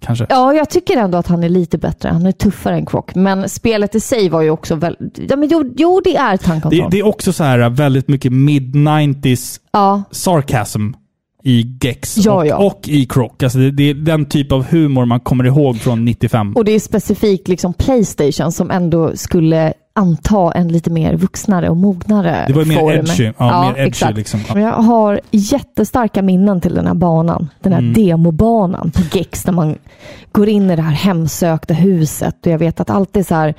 A: Kanske.
B: Ja, jag tycker ändå att han är lite bättre. Han är tuffare än Croc. Men spelet i sig var ju också väldigt... Ja, men jo, jo, det är
A: Det,
B: tankkontroll.
A: det är också så här äh, väldigt mycket mid-90s
B: Ja,
A: sarcasm i Gex
B: Ja,
A: och,
B: ja.
A: och i Krock. Alltså det, det är den typ av humor man kommer ihåg från 95.
B: och det är specifikt liksom Playstation som ändå skulle anta en lite mer vuxnare och mognare
A: det var ju mer
B: form.
A: edgy. Ja, mer edgy
B: exakt.
A: liksom.
B: Men Jag har jättestarka minnen till den här banan. Den
A: Mm.
B: här demobanan på Gex när man går in i det här hemsökta huset och jag vet att allt är så här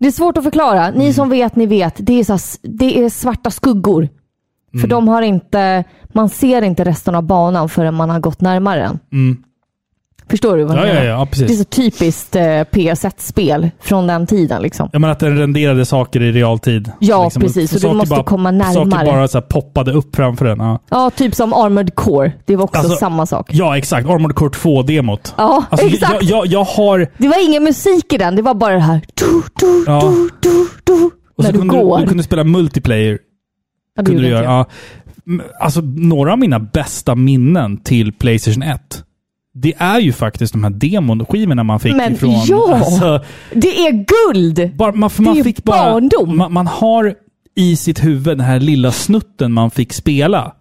B: det är svårt att förklara. Ni
A: Mm.
B: som vet, ni vet. Det är, så här, s- det är svarta skuggor.
A: Mm.
B: För de har inte, man ser inte resten av banan förrän man har gått närmare den. Förstår du vad
A: Mm. Ja,
B: jag
A: ja,
B: menar?
A: ja, ja, precis.
B: Det är så typiskt eh, PS1-spel från den tiden. Liksom.
A: Ja, men att den renderade saker i realtid. liksom.
B: Ja, precis. Så du
A: saker
B: måste komma
A: Saker
B: närmare.
A: bara så här poppade upp framför den. Ja.
B: Ja, typ som Armored Core. Det var också
A: Alltså,
B: samma sak.
A: Ja, exakt. Armored Core 2-demot.
B: Ja, exakt.
A: Jag, jag, jag har...
B: Det var ingen musik i den, det var bara det här du, du,
A: Ja.
B: du, du, du,
A: Och så
B: när du
A: kunde
B: går.
A: Du, du kunde spela multiplayer.
B: ja, det
A: Kunde du
B: gjorde
A: göra.
B: inte
A: Ja.
B: jag.
A: M- Alltså, några av mina bästa minnen till Playstation 1, det är ju faktiskt de här demonskivorna man fick
B: Men
A: ifrån...
B: ja!
A: Alltså,
B: Det är guld!
A: bara, man, för
B: Det är
A: man
B: ju
A: fick bara,
B: barndom.
A: Man, man har i sitt huvud den här lilla snutten man fick spela.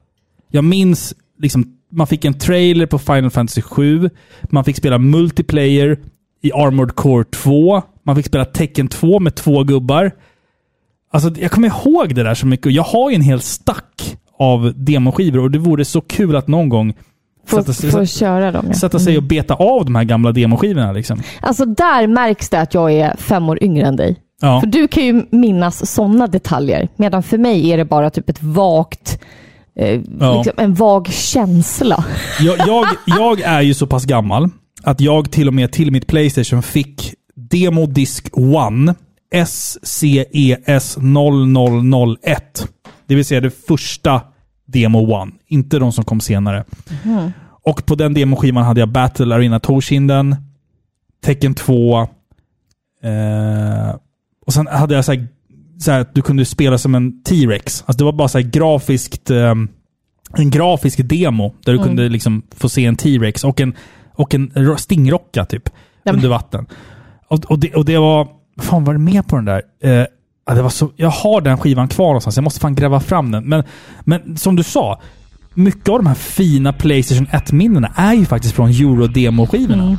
A: Jag minns liksom, man fick en trailer på Final Fantasy 7. Man fick spela multiplayer i Armored Core 2. Man fick spela Tekken 2 med två gubbar. Alltså, jag kommer ihåg det där så mycket. och Jag har ju en hel stack av demoskivor och det vore så kul att någon gång
B: Få,
A: sätta, sig-
B: få köra dem ja.
A: sätta sig och beta av de här gamla demoskivorna. Liksom.
B: Alltså där märks det att jag är fem år yngre än dig.
A: Ja.
B: För du kan ju minnas sådana detaljer. Medan för mig är det bara typ ett vagt, eh,
A: Ja.
B: liksom en vag känsla.
A: jag, jag, jag är ju så pass gammal att jag till och med till mitt Playstation fick Demo Disc 1 SCES 0001. Det vill säga det första Demo 1, inte de som kom senare. Och på den demoskivan hade jag Battle Arena Torshinden, Tecken 2, eh, och sen hade jag så här, så här att du kunde spela som en T-Rex. Alltså det var bara så här grafiskt ehm, en grafisk demo där du
B: Mm.
A: kunde liksom få se en T-Rex och en, och en ro- stingrocka typ
B: men-
A: under vatten. Och, och, det, och det var... Fan, var det med på den där? Eh, ja, det var så, jag har den skivan kvar någonstans. Jag måste fan gräva fram den. Men, men som du sa,
B: Mm.
A: mycket av de här fina Playstation 1-minnena är ju faktiskt från Eurodemo-skivorna.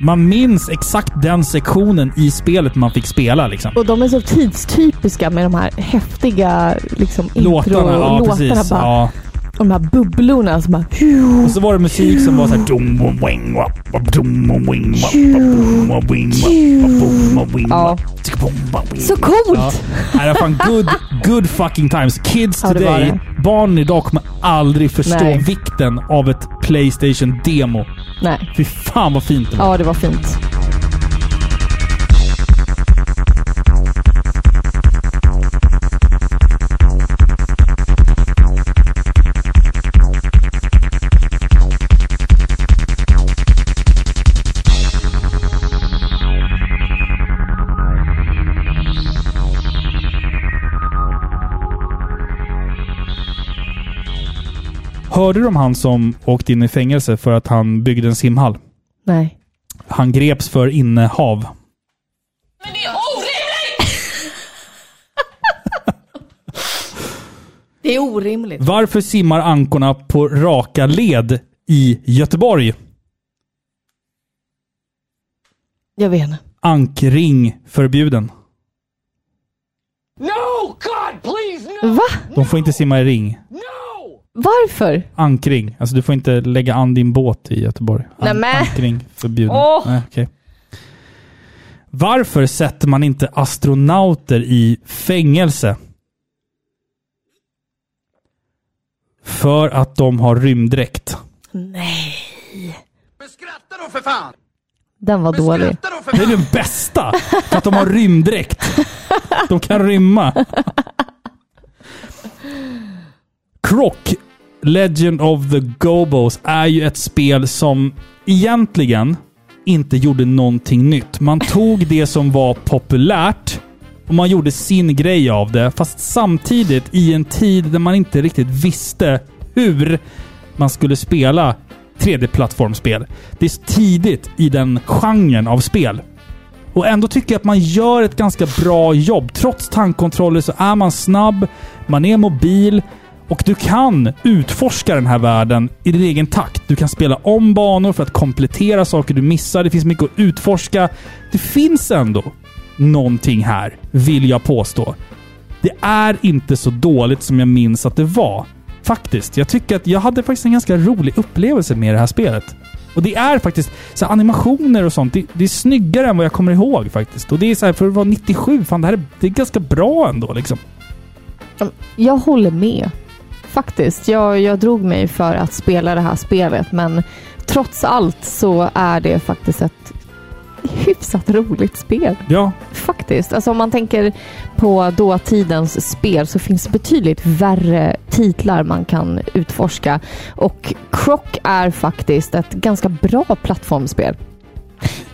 A: Man minns exakt den sektionen i spelet man fick spela liksom.
B: Och de är så tidstypiska med de här häftiga liksom,
A: Låtarna, ja precis.
B: bara,
A: Ja.
B: Och de här bubblorna som bara...
A: Och så var det musik som var såhär... dum, bom, boing, wap, bap, dum, bom, boing, wap, bap, bom, boing, wap, bap, bom, bom, boing,
B: Ja.
A: wap, tick, bom, bom, boing.
B: Så coolt!
A: Ja. Nej, det var fan good, good fucking times. Kids
B: Ja, det var
A: today, barn idag kommer aldrig förstå
B: Nej.
A: vikten av ett Playstation-demo.
B: Nej.
A: Fy fan vad fint det var.
B: Ja, det var fint.
A: Hörde du om han som åkte in i fängelse för att han byggde en simhall?
B: Nej.
A: Han greps för innehav.
J: Men det är orimligt!
B: Det är orimligt.
A: Varför simmar ankorna på raka led i Göteborg?
B: Jag vet inte.
A: Ankring förbjuden.
F: No! God, please, no!
B: Va?
A: De får inte simma i ring.
F: No!
B: Varför?
A: Ankring. Alltså du får inte lägga an din båt i Göteborg. An-
B: Nämen.
A: Ankring förbjuden.
B: Åh.
A: Nej, okej. Varför sätter man inte astronauter i fängelse? För att de har rymddräkt.
B: Nej.
E: Men skratta då för fan!
B: Den var dålig.
E: då för
A: Det är den bästa! För att de har rymddräkt. De kan rymma. Croc, Legend of the Gobos, är ju ett spel som egentligen inte gjorde någonting nytt. Man tog det som var populärt och man gjorde sin grej av det. Fast samtidigt i en tid där man inte riktigt visste hur man skulle spela 3D-plattformsspel. Det är så tidigt i den genren av spel. Och ändå tycker jag att man gör ett ganska bra jobb. Trots tankkontroller så är man snabb, man är mobil och du kan utforska den här världen i din egen takt. Du kan spela om banor för att komplettera saker du missar. Det finns mycket att utforska. Det finns ändå någonting här, vill jag påstå. Det är inte så dåligt som jag minns att det var. Faktiskt. Jag tycker att jag hade faktiskt en ganska rolig upplevelse med det här spelet. Och det är faktiskt så här, animationer och sånt. Det, det är snyggare än vad jag kommer ihåg faktiskt. Och det är så här, för att vara 97, fan det här är, det är ganska bra ändå liksom.
B: Jag håller med. Faktiskt. Jag, jag drog mig för att spela det här spelet, men trots allt så är det faktiskt ett hyfsat roligt spel.
A: Ja,
B: Faktiskt. Alltså om man tänker på dåtidens spel så finns det betydligt värre titlar man kan utforska. Och Croc är faktiskt ett ganska bra plattformsspel.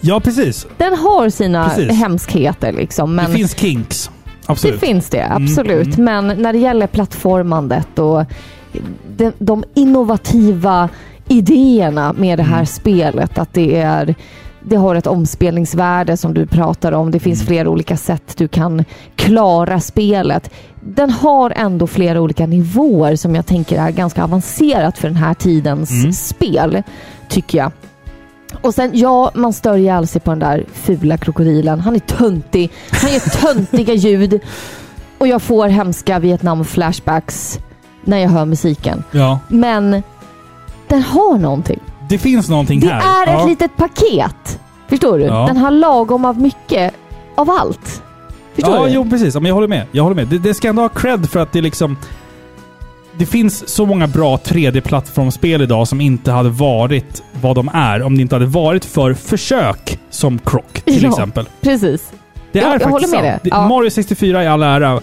A: ja precis.
B: Den har sina
A: Precis.
B: hemskheter liksom, men
A: det finns kinks.
B: det
A: Absolut.
B: finns det, absolut. Men när det gäller plattformandet och de, de innovativa idéerna med det här spelet, att det är det har ett omspelningsvärde som du pratar om. Det finns flera olika sätt du kan klara spelet. Den har ändå flera olika nivåer som jag tänker är ganska avancerat för den här tidens spel, tycker jag. Och sen, ja, man stör ihjäl sig på den där fula krokodilen. Han är töntig. Han gör töntiga ljud. Och jag får hemska Vietnam-flashbacks när jag hör musiken.
A: Ja,
B: Men den har någonting.
A: det finns någonting
B: Det
A: här.
B: är ett
A: ja.
B: litet paket. Förstår du?
A: Ja.
B: Den har lagom av mycket av allt. Förstår
A: ja,
B: du?
A: jo precis. Ja, Men jag håller med. Jag håller med. Det, det ska ändå ha cred för att det liksom... Det finns så många bra 3D-plattformsspel idag som inte hade varit vad de är om det inte hade varit för försök som Croc till
B: Ja.
A: exempel.
B: Precis.
A: Det
B: Ja,
A: är
B: jag
A: faktiskt
B: håller med
A: sant.
B: dig. Ja.
A: Mario 64 i all ära,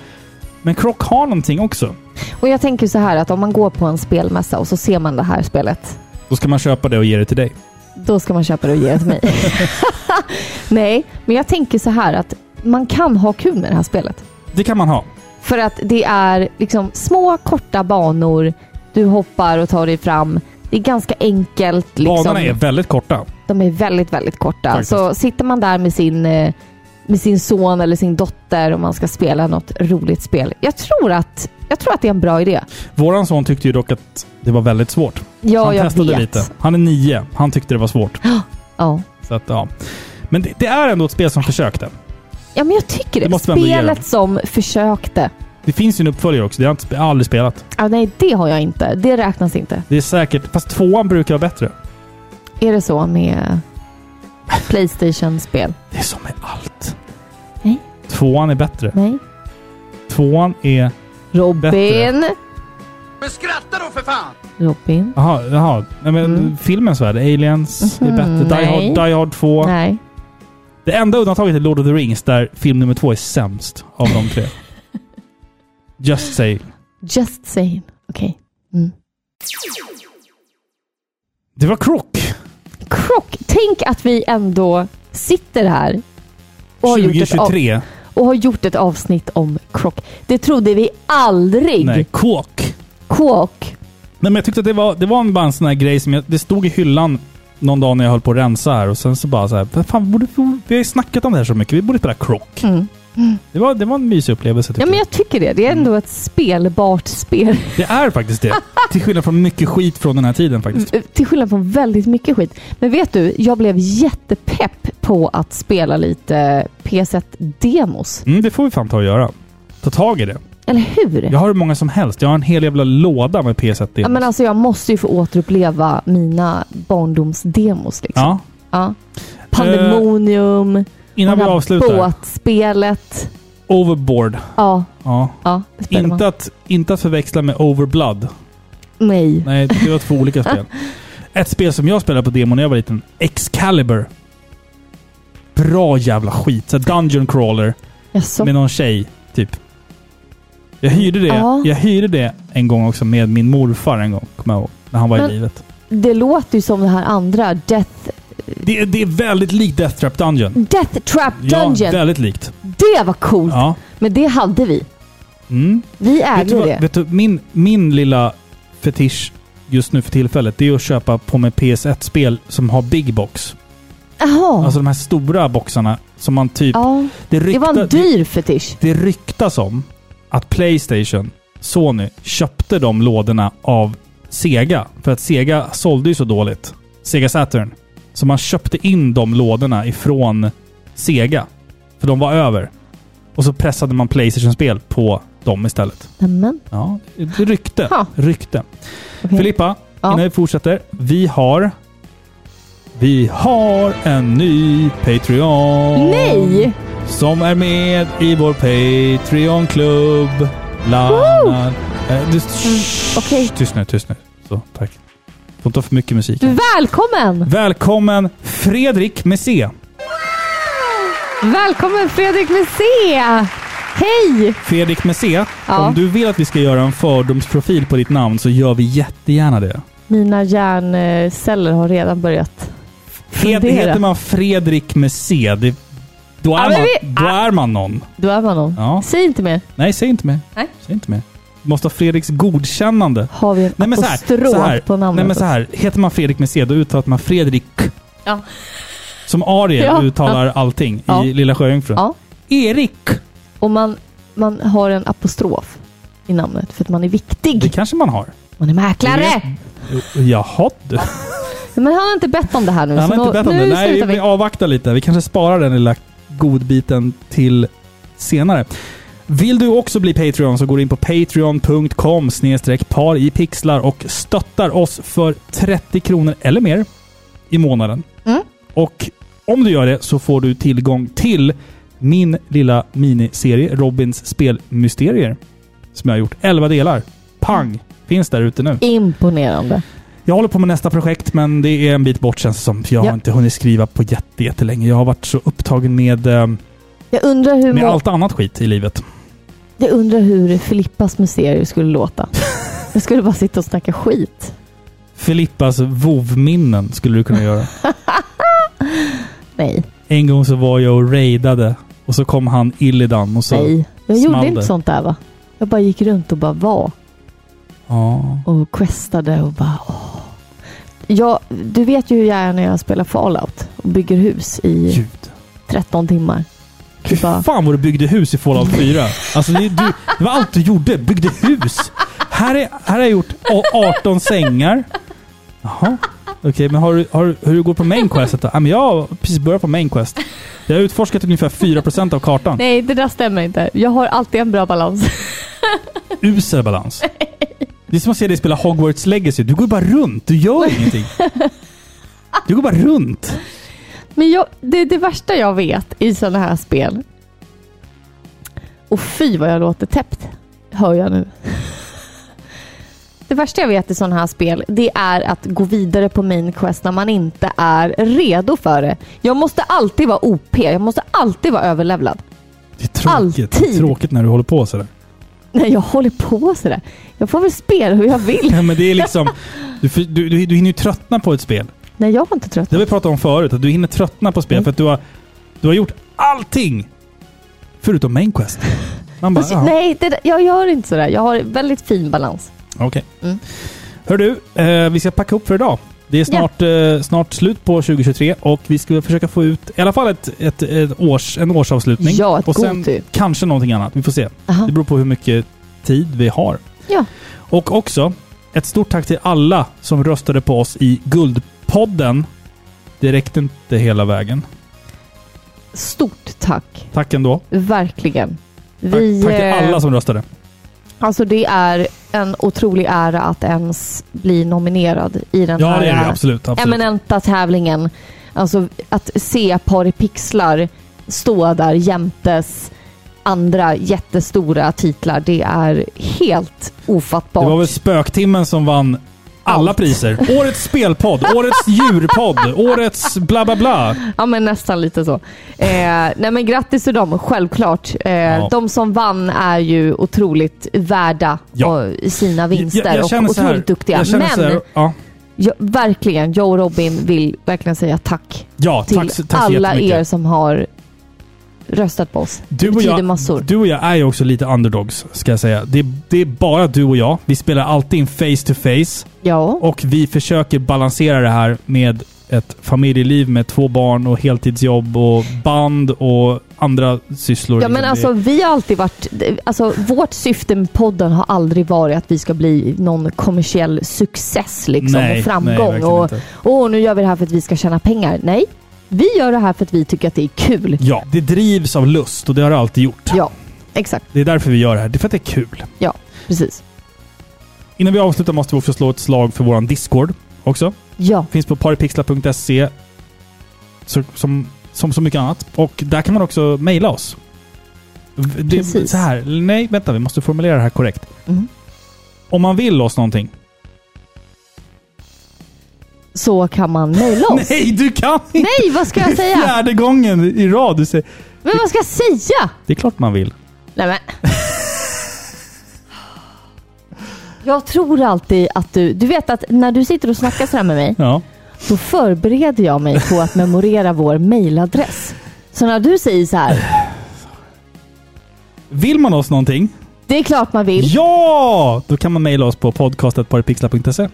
A: men Croc har någonting också.
B: Och jag tänker så här att om man går på en spelmässa och så ser man det här spelet.
A: Då ska man köpa det och ge det till dig.
B: då ska man köpa det och ge det till mig. Nej, men jag tänker så här att man kan ha kul med det här spelet.
A: Det kan man ha.
B: För att det är liksom små korta banor, du hoppar och tar dig fram. Det är ganska enkelt. Liksom.
A: Banorna är väldigt korta.
B: De är väldigt, väldigt korta.
A: Faktiskt.
B: Så sitter man där med sin, eh, med sin son eller sin dotter och man ska spela något roligt spel. Jag tror att, jag tror att det är en bra idé.
A: Våran son tyckte ju dock att det var väldigt svårt.
B: Ja,
A: han
B: jag
A: testade
B: vet.
A: lite. Han är nio. Han tyckte det var svårt.
B: Ja.
A: Så att, ja. Men det, det är ändå ett spel som försökte.
B: Ja, men jag tycker det.
A: Det måste man ändå ge dem.
B: Spelet som försökte.
A: Det finns ju en uppföljare också. Det har jag, inte, spe- jag har aldrig spelat.
B: Ah, nej, det har jag inte. Det räknas inte.
A: Det är säkert... Fast tvåan brukar vara bättre.
B: Är det så med Playstation-spel?
A: Det är som med allt.
B: Nej.
A: Tvåan är bättre.
B: Nej.
A: Tvåan är...
B: Robin!
A: Bättre.
E: Men skratta då för fan!
B: Robin.
A: Jaha, jaha. Nej, men
B: Mm.
A: filmens värld. Aliens
B: Mhm,
A: är bättre. Die
B: nej.
A: Hard, Die Hard 2.
B: Nej.
A: Det enda undantaget är Lord of the Rings där film nummer två är sämst av de tre. Just say.
B: Just saying. Okej.
A: Det var Croc.
B: Krock! Tänk att vi ändå sitter här och har, gjort ett, av,
A: 2023.
B: och har gjort ett avsnitt om krock. Det trodde vi aldrig.
A: Nej, Kåk.
B: Kåk.
A: Nej, men jag tyckte att det var, det var en- bara en sån här grej som jag, det stod i hyllan någon dag när jag höll på att rensa här och sen så bara så här, "Vad fan, vi, borde, vi har ju snackat om det här så mycket, vi borde spela Croc.
B: Mm.
A: Det, var, det var en mysig upplevelse tycker Mm.
B: Ja, men jag tycker det. Det är ändå ett spelbart spel.
A: jag. Det är faktiskt det. Till skillnad från mycket skit från den här tiden faktiskt.
B: Till skillnad från väldigt mycket skit. Men vet du, jag blev jättepepp på att spela lite PS1-demos.
A: Mm, det får vi fan ta och göra. Ta tag i det.
B: Eller hur?
A: Jag har hur många som helst. Jag har en hel jävla låda med PS1
B: Ja, men alltså jag måste ju få återuppleva mina barndomsdemos. Liksom.
A: ja. Eh,
B: Ja. Pandemonium,
A: Innan
B: det
A: vi
B: här
A: avslutar.
B: båtspelet.
A: Overboard.
B: Ja,
A: Ja.
B: ja. det spelar man.
A: Inte att, inte att förväxla med Overblood.
B: Nej.
A: Nej, det var två olika spel. Ett spel som jag spelade på demo när jag var liten, Excalibur. Bra jävla skit. Så här Dungeon crawler
B: Jaså?
A: med någon tjej, typ. Jag hyrde det.
B: Ja.
A: Jag hyrde det en gång också med min morfar en gång, kommer jag ihåg. När han var
B: Men-
A: i livet.
B: Det låter ju som det här andra. Death,
A: Det, det är väldigt likt Death Trap Dungeon.
B: Death Trap
A: Ja,
B: Dungeon.
A: väldigt likt.
B: det var coolt!
A: Ja.
B: Men det hade vi.
A: Mm.
B: Vi
A: Vet du,
B: ägde
A: vad,
B: det.
A: vet du, min, min lilla fetisch just nu för tillfället, det är att köpa på mig PS1-spel som har big box.
B: Jaha.
A: Alltså de här stora boxarna som man typ...
B: ja.
A: Det,
B: Det
A: rykta,
B: var en dyr fetisch.
A: det, det ryktas om att Playstation, Sony, köpte de lådorna av Sega. För att Sega sålde ju så dåligt. Sega Saturn. Så man köpte in de lådorna ifrån Sega. För de var över. Och så pressade man Playstation-spel på dem istället.
B: Nämen.
A: Ja, det är rykte.
B: Ha.
A: Rykte.
B: okej.
A: Filippa,
B: Ja.
A: innan vi fortsätter. Vi har... Vi har en ny Patreon!
B: Nej!
A: Som är med i vår Patreon-klubb. Lana... Eh, du, shh,
B: Mm, okej.
A: Tyst nu, tyst nu. Så, tack. Får inte ha för mycket musik.
B: Mm. Välkommen!
A: Välkommen Fredrik med C.
B: Välkommen Fredrik Messé! Hej!
A: Fredrik med C.
B: Ja.
A: Om du vill att vi ska göra en fördomsprofil på ditt namn så gör vi jättegärna det.
B: Mina hjärnceller har redan börjat
A: Fred,
B: Fundera.
A: heter man Fredrik med C, det, då, är
B: Ja, men
A: man,
B: vi- ah.
A: då är man någon.
B: Du är man någon.
A: Ja.
B: Säg inte mer.
A: Nej, säg inte mer.
B: Nej.
A: Säg inte mer. Du måste ha Fredriks godkännande.
B: Har vi en
A: Nej men så här,
B: apostrof
A: så här,
B: på namnet?
A: nej, men så här. Heter man Fredrik med C, då uttalar man Fredrik.
B: Ja.
A: Som Ariel
B: Ja.
A: uttalar allting
B: Ja.
A: i Lilla Sjöjungfrun.
B: Ja.
A: Erik!
B: Och man, man har en apostrof i namnet för att man är
A: Det
B: viktig.
A: kanske man har.
B: Man är mäklare!
A: Jaha du.
B: Men han har inte bett om det här nu.
A: Han
B: så
A: har inte
B: nå-
A: bett om
B: nu
A: det. Nej, vi,
B: slutar vi.
A: vi avvaktar lite. Vi kanske sparar den lilla godbiten till senare. Vill du också bli Patreon så går du in på patreon.com snedstreck par i pixlar och stöttar oss för 30 kronor eller mer i månaden.
B: Mm.
A: Och om du gör det så får du tillgång till min lilla miniserie Robins spelmysterier. Som jag har gjort 11 delar. Pang! Finns där ute nu.
B: Imponerande.
A: Jag håller på med nästa projekt, men det är en bit bort känns det som. Jag har
B: Ja.
A: inte hunnit skriva på jätte- jättelänge. Jag har varit så upptagen med, eh,
B: Jag undrar hur,
A: med
B: må-
A: allt annat skit i livet.
B: jag undrar hur Filippas mysterier skulle låta. Jag skulle bara sitta och snacka skit.
A: Filippas vovminnen skulle du kunna göra.
B: Nej,
A: En gång så var jag och raidade och så kom han Illidan och så...
B: nej. Jag
A: small
B: gjorde inte
A: det.
B: sånt där va? Jag bara gick runt och bara var.
A: Ja.
B: och questade och bara åh. Jag, du vet ju hur jag är när jag spelar Fallout och bygger hus i
A: Ljud.
B: 13 timmar.
A: Fy
B: Du bara,
A: fan vad du byggde hus i Fallout 4. Alltså det, du, det var allt du gjorde. Byggde hus. Här, är, här har jag gjort å- 18 sängar. Jaha. Okej, men har, du- har, du- hur går det på main questet då? Ja, men jag har precis börjat på main quest. Jag har utforskat ungefär 4% av kartan.
B: Nej, det där stämmer inte. Jag har alltid en bra balans.
A: Usel balans. Det är som att se dig spela Hogwarts Legacy. Du går bara runt. Du gör ingenting. Du går bara runt.
B: Men jag, det, det värsta jag vet i sådana här spel... Och fy vad jag låter täppt, hör jag nu. Det värsta jag vet i sådana här spel, det är att gå vidare på main quest när man inte är redo för det. Jag måste alltid vara OP, jag måste alltid vara överlevlad.
A: Det är tråkigt. Det är
B: Alltid.
A: tråkigt när du håller på sådär.
B: Nej, jag håller på sådär. Jag får väl spela hur jag vill.
A: Ja, men det är liksom... Du, du, du, du hinner ju tröttna på ett spel.
B: Nej, jag var inte trött.
A: Det har vi pratat om förut, att du hinner tröttna på
B: Mm.
A: spel för att du har, du har gjort allting! Förutom main quest. Man bara,
B: Fast-
A: ja, okej.
B: Alltså, Nej, det, där- jag gör inte sådär. Jag har väldigt fin balans. Mm.
A: Hör du, eh, vi ska packa upp för idag. Det är snart, eh, snart slut på 2023 och vi ska väl försöka få ut i alla fall ett, ett, ett års, en årsavslutning.
B: Ja, ett
A: och sen
B: Goti.
A: kanske någonting annat. Vi får se.
B: Aha.
A: Det beror på hur mycket tid vi har.
B: Ja.
A: Och också, ett stort tack till alla som röstade på oss i Guldpodden. Det räckte inte hela vägen.
B: Stort tack.
A: Tack ändå.
B: Verkligen.
A: Tack,
B: Vi,
A: tack till
B: eh,
A: alla som röstade.
B: Alltså det är en otrolig ära att ens bli nominerad i den
A: Ja,
B: här
A: det är det.
B: eh,
A: Absolut. absolut.
B: eminenta tävlingen. Alltså att se Par i pixlar stå där jämtes andra jättestora titlar. Det är helt
A: Det
B: ofattbart.
A: var väl Spöktimmen som vann alla
B: Allt.
A: priser. Årets spelpodd, årets djurpodd, årets bla bla bla.
B: Ja, men nästan lite så. Eh, nej, men grattis till dem, självklart. Eh,
A: Ja.
B: De som vann är ju otroligt värda
A: Ja.
B: och sina vinster och
A: känner
B: otroligt
A: så här-
B: duktiga.
A: jag känner
B: Men
A: så här- ja,
B: jag, verkligen, jag och Robin vill verkligen säga tack
A: ja
B: till
A: tack, så- tack så
B: alla
A: jättemycket.
B: er som har röstat på oss.
A: Du och,
B: betyder
A: jag,
B: massor.
A: du och jag är ju också lite underdogs, ska jag säga. Det, det är bara du och jag. Vi spelar alltid in face to face
B: Ja,
A: och vi försöker balansera det här med ett familjeliv med två barn och heltidsjobb och band och andra sysslor. liksom.
B: ja men
A: Det-
B: alltså vi har alltid varit... Alltså, vårt syfte med podden har aldrig varit att vi ska bli någon kommersiell success liksom,
A: nej,
B: och
A: nej,
B: framgång.
A: verkligen
B: och,
A: inte.
B: Åh, nu gör vi det här för att vi ska tjäna pengar. Nej, vi gör det här för att vi tycker att det är kul.
A: Ja, det drivs av lust och det har det alltid gjort.
B: Ja, exakt.
A: Det är därför vi gör det här. Det är för att det är kul.
B: Precis.
A: Innan vi avslutar måste vi också slå ett slag för vår Discord också.
B: Ja,
A: Finns på paripixlar.se så, som, som så mycket annat. Och där kan man också mejla oss. V- Det,
B: Precis.
A: Så här. Nej, vänta. Vi måste formulera det här korrekt.
B: Mm.
A: Om man vill oss någonting.
B: så kan man mejla oss.
A: Nej, du kan inte!
B: Nej, vad ska jag
A: Det är
B: säga?
A: Fjärde gången i rad du säger...
B: Men vad ska jag säga?
A: Det är klart man vill.
B: Nej, men. Jag tror alltid att du... Du vet att när du sitter och snackar sådär med mig,
A: Ja.
B: då förbereder jag mig på att memorera vår mejladress. Så när du säger så här,
A: Vill man oss någonting?
B: det är klart man vill.
A: Ja! Då kan man mejla oss på podcastetparipixlar.se.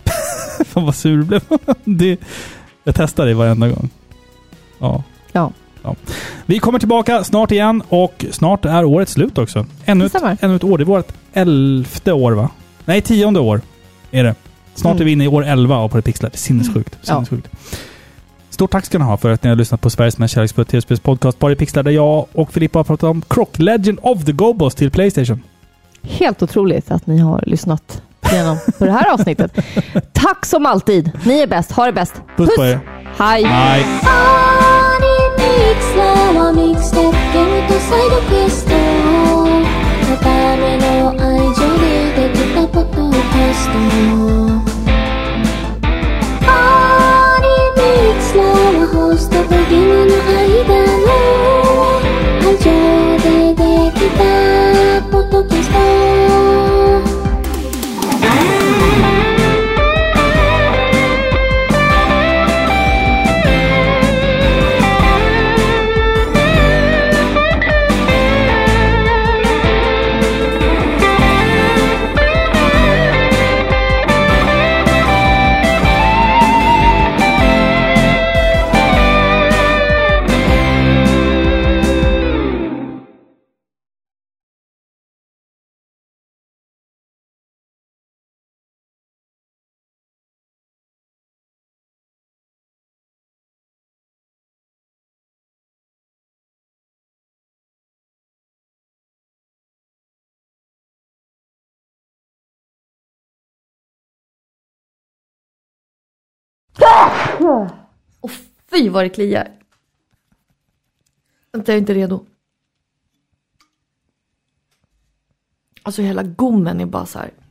A: Fan vad sur du blev. det, jag testar det varenda gång. Ja.
B: Ja.
A: ja. Vi kommer tillbaka snart igen och snart är året slut också. Ännu ett,
B: Detsamma.
A: ännu ett år. Det är vårt elfte år va? Nej, tionde år är det. Snart är
B: Mm.
A: vi inne i år 11 av Parapixlar. Sinnessjukt.
B: Ja.
A: Sinnessjukt. Stort tack ska ni ha för att ni har lyssnat på Sveriges mest kärleksfulla tv podcast Parapixlar där jag och Filippa har pratat om Croc Legend of the Gobos till Playstation.
B: Helt otroligt att ni har lyssnat igenom på det här avsnittet. Tack som alltid. Ni är bäst. Ha det bäst.
A: Puss på er.
B: Hej.
A: Bye.
B: Och fy vad det kliar. Vänta, jag är inte redo. Alltså hela gommen är bara så här.